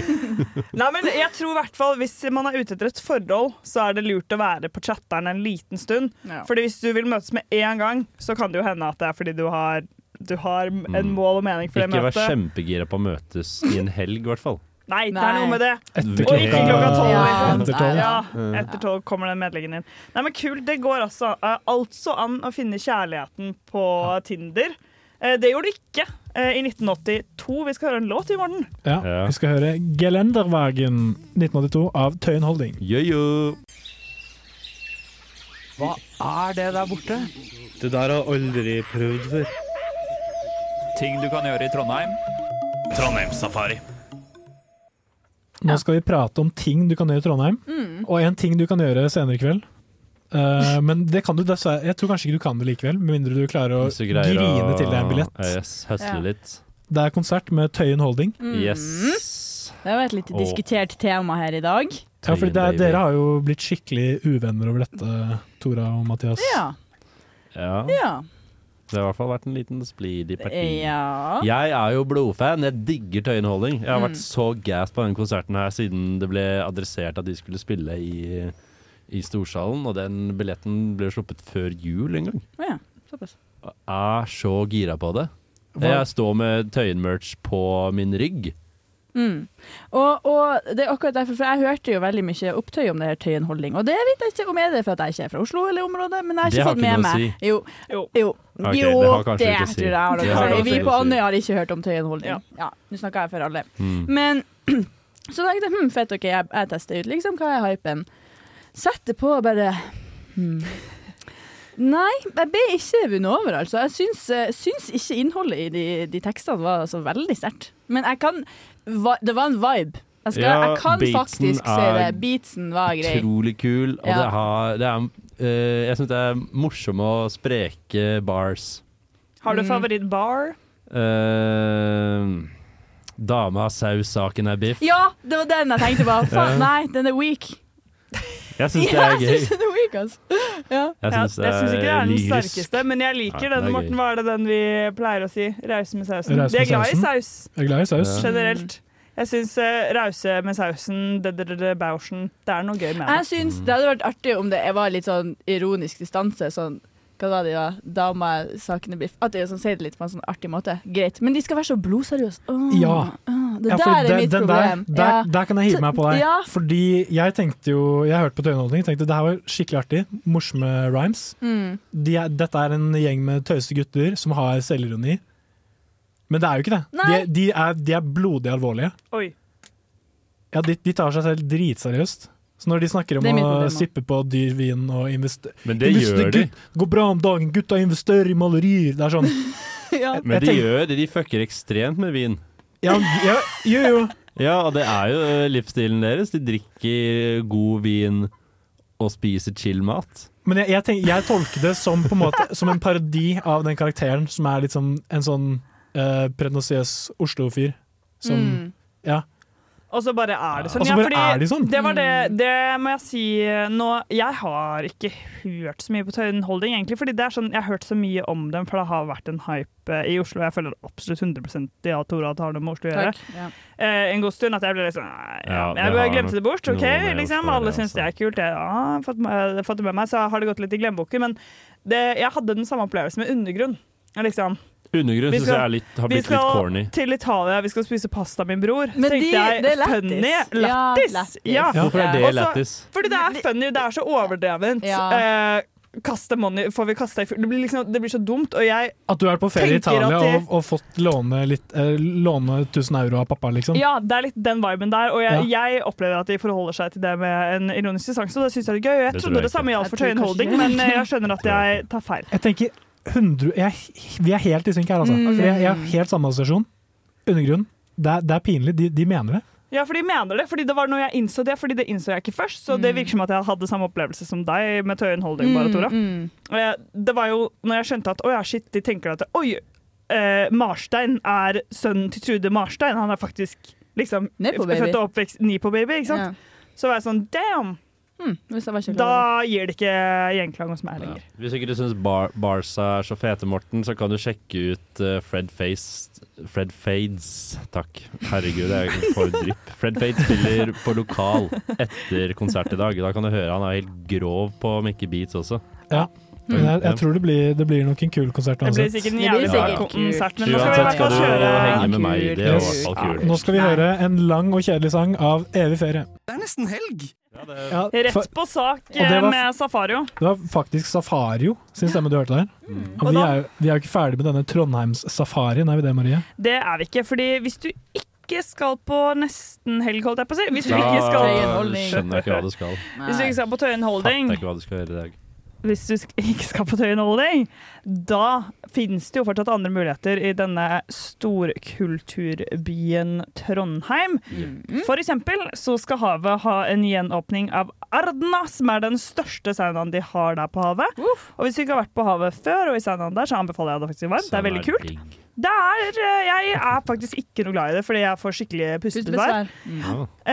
S10: Nei, men jeg tror i hvert fall Hvis man er ute etter et forhold, så er det lurt å være på chatteren en liten stund.
S11: Ja.
S10: Fordi hvis du vil møtes med én gang, så kan det jo hende at det er fordi du har, du har en
S9: Mm.
S10: mål og mening for det
S9: Ikke vær
S10: møtet.
S9: kjempegira på å møtes i en helg, i hvert fall.
S10: Nei, det er
S11: Nei.
S10: noe med det.
S9: Etter
S10: og ikke
S9: klokka-
S10: klokka tolv.
S9: Ja,
S10: liksom.
S9: etter tolv.
S10: Ja, etter tolv kommer den medleggen inn. Nei, men kult. Det går altså, eh, altså an å finne kjærligheten på Tinder. Eh, Det gjorde det ikke eh, i 1982. Vi skal høre en låt i morgen.
S8: Ja, Vi skal høre 'Gelenderwagen' 1982 av Tøyen Holding.
S12: Hva er det der borte?
S18: Det der har aldri prøvd før.
S19: Ting du kan gjøre i Trondheim. Trondheimssafari.
S8: Nå skal vi prate om ting du kan gjøre i Trondheim,
S19: Mm.
S8: og en ting du kan gjøre senere i kveld. Eh, men det kan du dessverre Jeg tror kanskje ikke du kan det likevel, med mindre du klarer å
S9: Hvis du
S8: grine
S9: greier å-
S8: til deg en billett.
S9: Ja, yes, høsle
S11: Ja. Mm.
S9: litt.
S8: Det er konsert med Tøyen Holding.
S9: Yes.
S11: Det var et litt
S8: Åh.
S11: diskutert tema her i dag.
S8: Ja, fordi det er,
S9: Tøyen, baby.
S8: Dere har jo blitt skikkelig uvenner over dette, Tora og Mathias.
S11: Ja.
S9: Ja.
S11: Ja.
S9: Det har i hvert fall vært en liten splid i partiet.
S11: Ja.
S9: Jeg er jo blodfan. Jeg digger Tøyen Holding. Jeg har
S11: Mm.
S9: vært så gass på den konserten her siden det ble adressert at de skulle spille i, i Storsalen, og den billetten ble sluppet før jul en gang.
S11: Ja, såpass.
S9: Jeg er så gira på det.
S11: Hva-
S9: Jeg står med Tøyen-merch på min rygg.
S11: Mm. Og, og det er akkurat derfor, for jeg hørte jo veldig mye opptøy om det her Tøyen Holding, og det vet jeg ikke om er det for at jeg ikke er fra Oslo eller området, men jeg har
S9: Det
S11: ikke
S9: har
S11: fått
S9: ikke
S11: med
S9: noe å
S11: meg.
S9: si.
S11: Jo, jo, jo,
S9: Ok, det har kanskje
S11: det
S9: ikke å si.
S11: tror jeg har
S9: Det
S11: noe
S9: har
S11: å si.
S9: kanskje
S11: Vi
S9: ikke
S11: på
S9: å si.
S11: Andøya har ikke hørt om Tøyen Holding. Ja, nå snakker jeg for alle.
S9: Mm.
S11: Men så tenkte jeg, hm, fett, ok, jeg, jeg tester ut liksom hva er hypen. Setter på og bare, hm, Nei, jeg ble ikke vunnet over, altså. Jeg syns, eh, syns ikke innholdet i de, de tekstene var så veldig sterkt. Men jeg kan va, Det var en vibe. Jeg, skal,
S9: Ja,
S11: jeg kan
S9: beatsen
S11: faktisk si
S9: er
S11: det. Beatsen var grei.
S9: Utrolig kul. Og
S11: Ja.
S9: det har, det er, eh, jeg syns det er morsomme og spreke bars.
S10: Har du
S11: Mm.
S10: favorittbar?
S9: Uh, dame har saus, saken er biff.
S11: Ja, det var den jeg tenkte på. Faen,
S9: Ja.
S11: nei, den er weak.
S9: Jeg syns det er
S11: Ja,
S9: gøy.
S11: jeg syns den er weak, altså. Ja.
S10: Ja,
S9: Jeg
S10: jeg
S9: syns det
S10: syns ikke det er
S9: er
S10: den
S9: lyrisk.
S10: sterkeste, men jeg
S9: Nei,
S10: liker
S9: det er
S10: den, Morten.
S9: gøy.
S10: Hva er det den vi pleier å si? Rause med sausen.
S8: Raus
S10: De er
S8: med
S10: glad i
S8: sausen.
S10: saus.
S8: Jeg er glad i saus.
S9: Ja.
S10: Generelt. Jeg syns eh, rause med sausen, det-det-det, bausen Det er noe gøy med
S11: Jeg syns det hadde vært artig om det var litt sånn ironisk distanse. Sånn, hva var det, da? Dama, sakene biff. At de liksom sier det litt på en sånn artig måte. Greit. Men de skal være så blodseriøse. Åh,
S8: Ja.
S11: åh, det
S8: Ja, for
S11: der er
S8: den-
S11: mitt
S8: den
S11: problem.
S8: Der, der,
S11: Ja.
S8: der kan jeg hive meg på deg.
S11: Ja.
S8: Fordi jeg tenkte jo Jeg hørte på Tøyenholdning og tenkte det her var skikkelig artig. Morsomme rhymes.
S11: Mm.
S8: De er, dette er en gjeng med tøyeste gutter som har selvironi. Men det er jo ikke det. De,
S10: Nei.
S8: de, er, de er blodig alvorlige.
S10: Oi.
S8: Ja, de, de tar seg selv dritseriøst. Så når de snakker om
S10: Det er mitt
S8: å
S10: problem også.
S8: sippe på dyr vin og investere
S9: Men det gjør de.
S8: Det går bra om dagen, gutta investerer i malerier. Det er sånn. Jeg
S9: Men de
S8: tenk-
S9: gjør det. De fucker ekstremt med vin.
S8: Ja, ja, jo, jo.
S9: Ja, og det er jo eh, livsstilen deres. De drikker god vin og spiser chill mat.
S8: Men jeg, jeg, tenk, jeg tolker det som, på en måte, som en parodi av den karakteren som er litt som en sånn uh, pretensiøs Oslo-fyr. Som
S10: Mm.
S8: Ja.
S10: Og så bare er det sånn.
S8: Og så bare er de sånn.
S10: Det var det, det må jeg si eh, nå. Jeg har ikke hørt så mye på Tøyenholding, egentlig. Fordi det er sånn, jeg har hørt så mye om dem, for det har vært en hype eh, i Oslo. Jeg føler absolutt 100 ja, Tora at det har noe med Oslo å gjøre.
S11: Takk. Ja.
S10: Eh, en god stund at jeg ble litt sånn nei, ja,
S9: Ja, det
S10: Jeg bare
S9: har nok
S10: glemte det bort. ok,
S9: noe med
S10: liksom,
S9: Oslo å
S10: Alle
S9: gjøre,
S10: syns det er kult. Jeg ja, har fått, med- fått det med meg, så har det gått litt i glemmeboken. Men det, jeg hadde den samme opplevelsen med undergrunn. Liksom.
S9: Undergrunn
S10: Vi
S9: syns
S10: skal-
S9: jeg er litt,
S10: vi
S9: har blitt litt
S10: skal
S9: corny.
S10: til Italia, vi skal spise pasta, min bror.
S11: Men
S10: Tenkte
S11: de-
S10: jeg,
S11: det er lættis.
S10: Funny,
S11: Ja,
S10: lættis.
S11: lættis.
S10: Ja.
S9: Ja, hvorfor er det
S10: Også-
S9: lættis?
S10: Fordi det er funny, det er så overdrevent.
S11: Ja.
S10: Eh, kaste money, får vi kasta i fyr Det blir liksom, det blir så dumt, og jeg
S8: At du er på ferie i
S10: Tenker at
S8: Italia
S10: de-
S8: og, og fått låne, litt, eh, låne 1000 euro av pappa, liksom.
S10: Ja, det er litt den viben der, og jeg, jeg opplever at de forholder seg til det med en ironisk distanse, og det syns jeg er gøy. Jeg
S8: Det tror
S10: trodde
S8: jeg
S10: det samme
S8: ikke.
S10: gjaldt for
S8: Jeg tror
S10: Tøyen Holding,
S8: kanskje
S10: men eh,
S8: det.
S10: jeg skjønner at jeg tar feil.
S8: Jeg tenker 100, jeg, Vi er helt i synk her, altså.
S10: Mm.
S8: Fordi jeg, jeg har helt samme assosiasjon. Undergrunn. Det er, det er pinlig. De, de mener det.
S10: Ja, for de mener det, fordi det var noe jeg innså det, fordi det innså jeg ikke først, så
S8: Mm.
S10: det virker som at jeg hadde samme opplevelse som deg med Tøyen Holding, bare,
S11: Mm,
S10: Tora.
S11: mm.
S10: Og jeg- Det var jo når jeg skjønte at å ja, shit, de tenker at oi, eh, Marstein er sønnen til Trude Marstein, han er faktisk liksom
S11: Nepo baby.
S10: født og oppvekst ni på baby, ikke sant? Så var jeg sånn damn!
S11: Mm, Hvis jeg var ikke klar over
S10: Da gir det ikke gjenklang hos meg lenger.
S9: Hvis ikke du syns bar Barca er så fete, Morten, så kan du sjekke ut eh, Fred Face Fred Fades, takk. Herregud, jeg får drypp. Fred Fades spiller på lokal etter konsert i dag. Da kan du høre han er helt grov på Mickey Beats også. Mm.
S8: Ja. Men jeg,
S9: Ja.
S8: jeg tror det blir, det blir nok en kul konsert
S10: Mm. Det blir
S8: uansett.
S10: sikkert en
S9: Det blir
S10: jævlig bra
S9: sikkert
S10: konsert, men nå skal vi i
S9: Uansett
S10: hvert
S9: skal
S10: fall
S9: du henge
S10: kjøre
S9: med meg. Det er i hvert fall
S8: Yes.
S9: kult.
S8: Nå skal vi høre en lang og kjedelig sang av Evig ferie.
S10: Det er nesten helg!
S8: Ja, for-
S10: Rett på sak eh,
S8: Og det var-
S10: med Safario.
S8: Det var faktisk Safario sin stemme du hørte der.
S11: Mm.
S8: Og vi er, jo- vi er jo ikke ferdig med denne Trondheims-safarien, er vi det, Marie?
S10: Det er vi ikke, fordi hvis du ikke skal på nesten helg, holdt jeg på å si Hvis du
S9: Da
S10: ikke skal
S9: skjønner jeg ikke hva du skal.
S10: Hvis du ikke skal på Tøyen Holding,
S9: Fatter ikke hva du skal gjøre i dag.
S10: hvis du sk- ikke skal på Tøyen Holding, da finnes det jo fortsatt andre muligheter i denne storkulturbyen Trondheim. For eksempel så skal havet ha en gjenåpning av Ardna, som er den største saunaen de har der på havet. Og hvis du ikke har vært på havet før og i saunaen der, så anbefaler jeg det faktisk varmt. Det er veldig kult. Det er, eh, jeg er faktisk ikke noe glad i det, fordi jeg får skikkelig pustebesvær.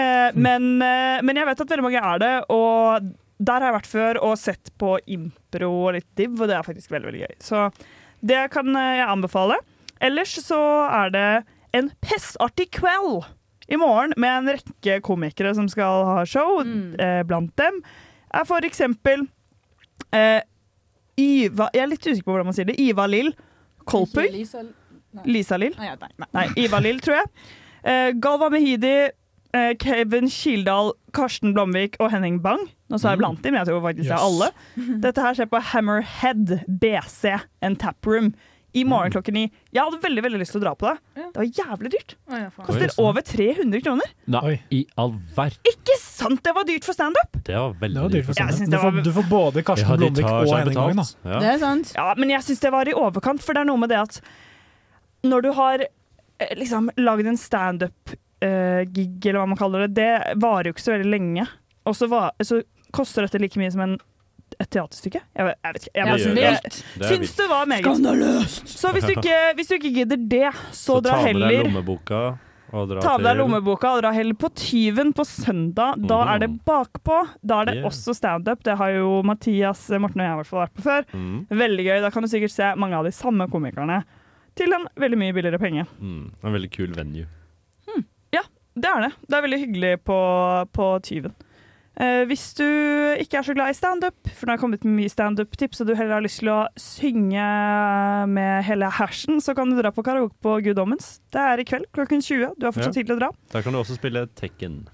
S10: Eh, men, eh, men jeg vet at veldig mange er det, og der har jeg vært før og sett på impro og litt div, og det er faktisk veldig, veldig gøy. Så det kan eh, jeg anbefale. Ellers så er det en pessartig kveld i morgen med en rekke komikere som skal ha show. Eh, blant dem er for eksempel eh, Iva Jeg er litt usikker på hvordan man sier det. Iva Lill Kolpøy. Lisa Lill?
S11: Nei, nei, nei.
S10: Nei, Iva Lill, tror jeg. Eh, Galva Mehidi, eh, Kevin Kildahl, Karsten Blomvik og Henning Bang. Nå sa jeg blant dem, men jeg tror faktisk det er
S11: Yes.
S10: alle. Dette her skjer på Hammerhead BC, en taproom i morgen klokken ni. Jeg hadde veldig veldig lyst til å dra på det. Det var jævlig dyrt. Koster over 300 kroner.
S9: Nei, i all verden.
S10: Ikke sant det var dyrt for standup!
S9: Det var veldig
S8: Det var dyrt for
S10: Jeg
S8: standup.
S10: synes
S8: Du,
S10: det var-
S8: får- du får både Karsten
S9: Ja, de
S8: Blomvik
S9: tar
S8: og
S9: seg
S8: Henning Wang, da.
S9: betalt. Ja. Det er
S10: sant. Ja, men jeg syns det var i overkant, for det er noe med det at når du har eh, liksom lagd en standup-gig, eller hva man kaller det, det varer jo ikke så veldig lenge. Og så, va- så koster dette like mye som en, et teaterstykke. Jeg, vet- jeg vet ikke. Jeg
S11: Det gjør
S10: bare
S11: det.
S10: syns
S11: Det
S10: det,
S11: er
S10: syns det var meget.
S11: Skandaløst!
S10: Så hvis du ikke, hvis du ikke gidder det, så,
S9: Så
S10: dra
S9: ta med deg
S10: heller
S9: lommeboka og dra
S10: Ta med deg
S9: til-
S10: lommeboka og dra heller på Tyven på søndag. Da er
S9: Mm.
S10: det bakpå. Da er det
S9: Yeah.
S10: også standup. Det har jo Mathias, Morten og jeg i hvert fall vært på før.
S9: Mm.
S10: Veldig gøy. Da kan du sikkert se mange av de samme komikerne til en veldig mye billigere penge.
S9: Mm, en veldig kul venue.
S10: Ja, det er det. Det er veldig hyggelig på, på Tyven. Eh, hvis du ikke er så glad i standup, for nå har jeg kommet med mye standup-tips, og du heller har lyst til å synge med hele hersen, så kan du dra på karaoke på Guddommens. Det er i kveld klokken 20. Du har fortsatt tid til å dra.
S9: Der kan du også spille Tekken.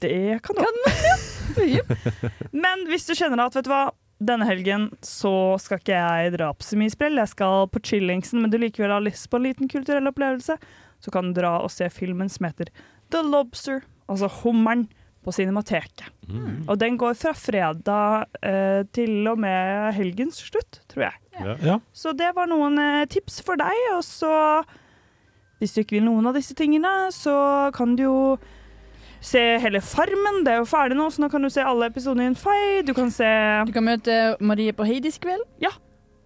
S10: Det kan du Men hvis du kjenner at, vet du hva, denne helgen så skal ikke jeg dra på så mye sprell, jeg skal på chillingsen, men du likevel har lyst på en liten kulturell opplevelse, så kan du dra og se filmen som heter The Lobster, altså hummeren, på Cinemateket. Og den går fra fredag eh, til og med helgens slutt, tror jeg.
S8: Ja.
S10: Så det var noen eh, tips for deg. Og så, hvis du ikke vil noen av disse tingene, så kan du jo se hele Farmen. Det er jo ferdig nå, så nå kan du se alle episodene i en fei. Du kan se
S11: Du kan møte Marie på Heidis kveld.
S10: Ja.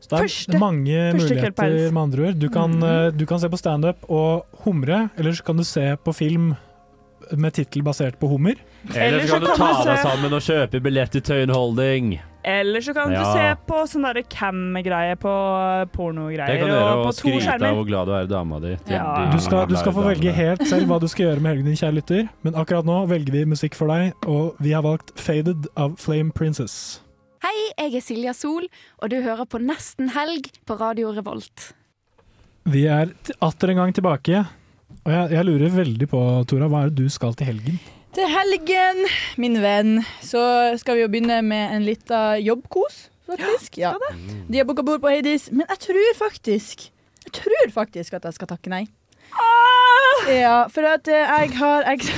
S8: Så det er mange
S11: første Mm. kveld på
S8: muligheter,
S11: Hells.
S8: med andre ord. Du kan, eh, du kan se på standup og humre, eller så kan du se på film med tittel basert på hummer.
S9: Eller så kan du ta deg sammen og kjøpe billett til Tøyen Holding.
S10: Eller så kan
S9: Ja.
S10: du se på sånn derre cam-greie på
S9: Det
S10: pornogreier.
S9: kan du gjøre,
S10: og
S9: og
S10: på to
S9: skryte av
S10: skjermer.
S9: hvor glad du er i dama di. til
S10: Ja.
S9: de
S8: Du skal, du skal få
S9: glade
S8: velge
S9: damene.
S8: helt selv hva du skal gjøre med helgen din, kjære lytter, men akkurat nå velger vi musikk for deg, og vi har valgt Faded av Flame Princess.
S5: Hei, jeg er Silja Sol, og du hører på Nesten helg på Radio Revolt.
S8: Vi er t- atter en gang tilbake, og jeg, jeg lurer veldig på, Tora, hva er det du skal til helgen?
S11: Til helgen, min venn, så skal vi jo begynne med en lita jobbkos, faktisk. Ja, De har booka bord på Heidis, men jeg tror faktisk Jeg tror faktisk at jeg skal takke nei. Ja, for at eh, jeg har eks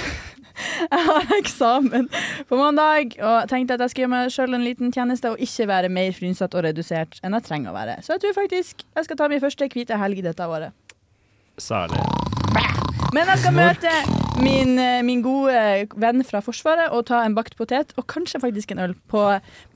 S11: Jeg har eksamen på mandag, og jeg tenkte at jeg skulle gjøre meg sjøl en liten tjeneste og ikke være mer frynsatt og redusert enn jeg trenger å være. Så jeg tror faktisk jeg skal ta min første hvite helg dette året.
S9: Særlig.
S11: Men jeg skal møte min, eh, min gode venn fra Forsvaret og ta en bakt potet og kanskje faktisk en øl på,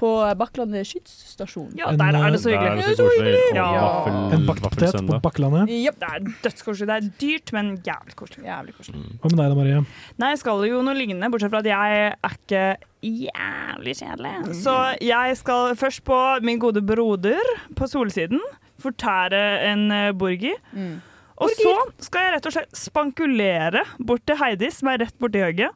S11: på Bakklandet skytsstasjon.
S10: Ja, der er det så
S9: Der er
S10: hyggelig.
S9: det så koselig. Og
S10: Ja.
S9: vaffel-
S8: En bakt potet på
S9: vaffelsøndag.
S8: Bakkelandet.
S11: Japp,
S10: Det er dødskoselig. Det er dyrt, men jævlig koselig.
S8: Hva med deg da, Marie?
S10: Nei, jeg skal jo noe lignende, bortsett fra at jeg er ikke jævlig kjedelig. Så jeg skal først på min gode broder på solsiden, fortære en eh, burger. Og så skal jeg rett og slett spankulere bort til Heidi, som er rett borti høyre,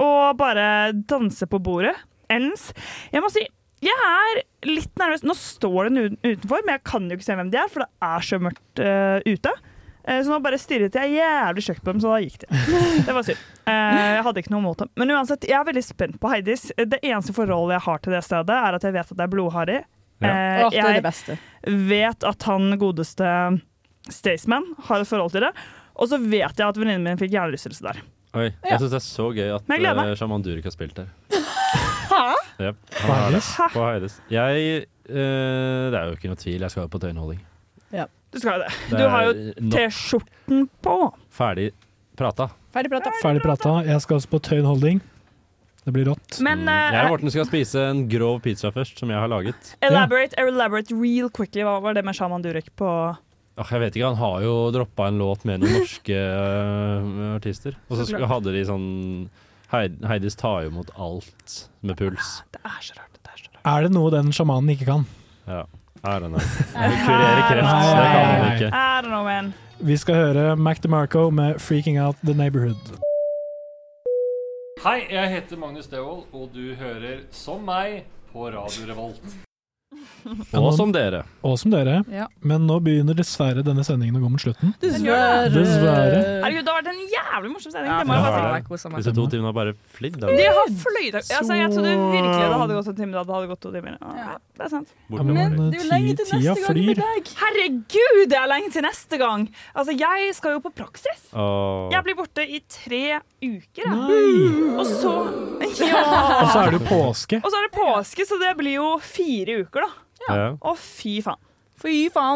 S10: og bare danse på bordet. Ens. Jeg må si, jeg er litt nervøs. Nå står den uten- utenfor, men jeg kan jo ikke se hvem de er, for det er så mørkt eh, ute. Eh, så nå bare stirret jeg jævlig stygt på dem, så da gikk det. Det var synd. Eh, jeg hadde ikke noe mot dem. Men uansett, jeg er veldig spent på Heidis. Det eneste forholdet jeg har til det stedet, er at jeg vet at det er blodharry.
S11: Ja.
S10: Eh,
S11: Åh, det er det
S10: jeg-
S11: beste.
S10: vet at han godeste Staysman har et forhold til det. Og så vet jeg at venninnen min fikk hjernerystelse der.
S9: Oi,
S10: Ja.
S9: jeg syns det er så gøy at
S10: Men jeg gleder meg.
S9: eh, Shaman Durek har spilt der.
S10: Hæ?
S9: Jep, han har det.
S10: Hæ?
S9: På Heides. Jeg eh, Det er jo ikke noe tvil, jeg skal jo på Tøyen Holding.
S10: Du skal jo det.
S9: Det
S10: Du har jo
S9: er nok.
S10: T-skjorten på.
S9: Ferdig prata.
S11: Ferdig prata.
S8: Ferdig prata. Jeg skal også på Tøyen Holding. Det blir rått.
S10: Men
S9: Mm, Jeg og
S10: eh,
S9: Morten skal spise en grov pizza først, som jeg har laget.
S10: elaborate, elaborate real quickly. Hva var det med Shaman Durek på
S9: Åh, jeg vet ikke, Han har jo droppa en låt med noen norske eh, artister. Og så
S10: Så
S9: sk-
S10: klart.
S9: hadde de sånn Heid- Heidis tar jo imot alt med puls.
S8: Er det noe den sjamanen ikke kan?
S9: Ja. Er den der. Kurere kreft, det kan han
S8: Nei.
S9: ikke.
S10: I don't know, man.
S8: Vi skal høre Mac DeMarco med 'Freaking Out The Neighborhood'.
S20: Hei, jeg heter Magnus Devold, og du hører, som meg, på Radio Revolt.
S9: Og som dere.
S8: Og som dere.
S10: Ja.
S8: Men nå begynner dessverre denne sendingen å gå mot slutten.
S10: Dessverre.
S8: Dessverre.
S10: Herregud, det har vært en jævlig morsom sending.
S9: Ja,
S10: det må jeg
S9: det har
S10: bare
S9: det.
S10: si.
S9: Disse to timene har bare flydd. da.
S10: Det har fløyt. Altså, jeg trodde virkelig det hadde gått en time. Det hadde gått to timer. Ja. Det er sant.
S8: Ja, men,
S10: Men det er jo lenge
S8: ti-
S10: til neste
S8: tida
S10: gang
S8: flyr.
S10: med deg. Herregud, det er lenge til neste gang! Altså, jeg skal jo på praksis.
S9: Åh.
S10: Jeg blir borte i tre uker, jeg.
S8: Nei.
S10: Og så
S8: Og så er det jo
S10: Ja.
S8: påske.
S10: Og så er det påske, så det blir jo fire uker, da.
S8: Ja.
S10: Å, fy faen.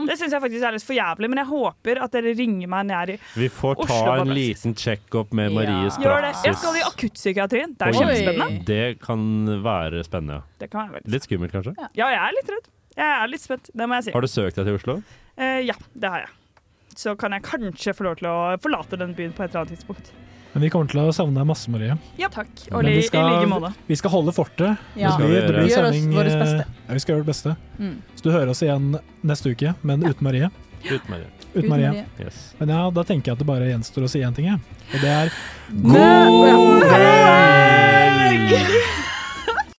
S10: Det syns jeg faktisk er litt for jævlig, men jeg håper at dere ringer meg når jeg er i
S9: Vi får ta
S10: Oslo var
S9: en
S10: best.
S9: liten checkup med Maries
S10: Gjør det.
S9: praksis.
S10: Jeg skal i akuttpsykiatrien. Det er
S9: Oi.
S10: kjempespennende.
S9: Det kan være spennende.
S10: Det kan være veldig
S9: Litt skummelt, kanskje?
S10: Ja. ja, jeg er litt redd. Jeg er litt spent, det må jeg si.
S9: Har du søkt deg til Oslo?
S10: Eh, ja, det har jeg. Så kan jeg kanskje få lov til å forlate den byen på et eller annet tidspunkt.
S8: Men vi kommer til å savne deg masse, Marie.
S10: Ja, takk.
S8: Men
S10: Og li,
S8: vi skal,
S10: i like måte.
S8: Vi skal holde fortet.
S10: Ja.
S8: Det blir, det
S10: Vi
S8: blir
S10: gjør oss
S8: sending,
S10: vårt
S8: eh,
S10: beste.
S8: Ja, vi skal gjøre vårt beste.
S10: Mm.
S8: Så du hører oss igjen neste uke, men uten Marie.
S9: Uten Marie.
S8: Uten Marie.
S9: Yes.
S8: Men ja, da tenker jeg at det bare gjenstår å si én ting, jeg. Og det er
S9: God helg!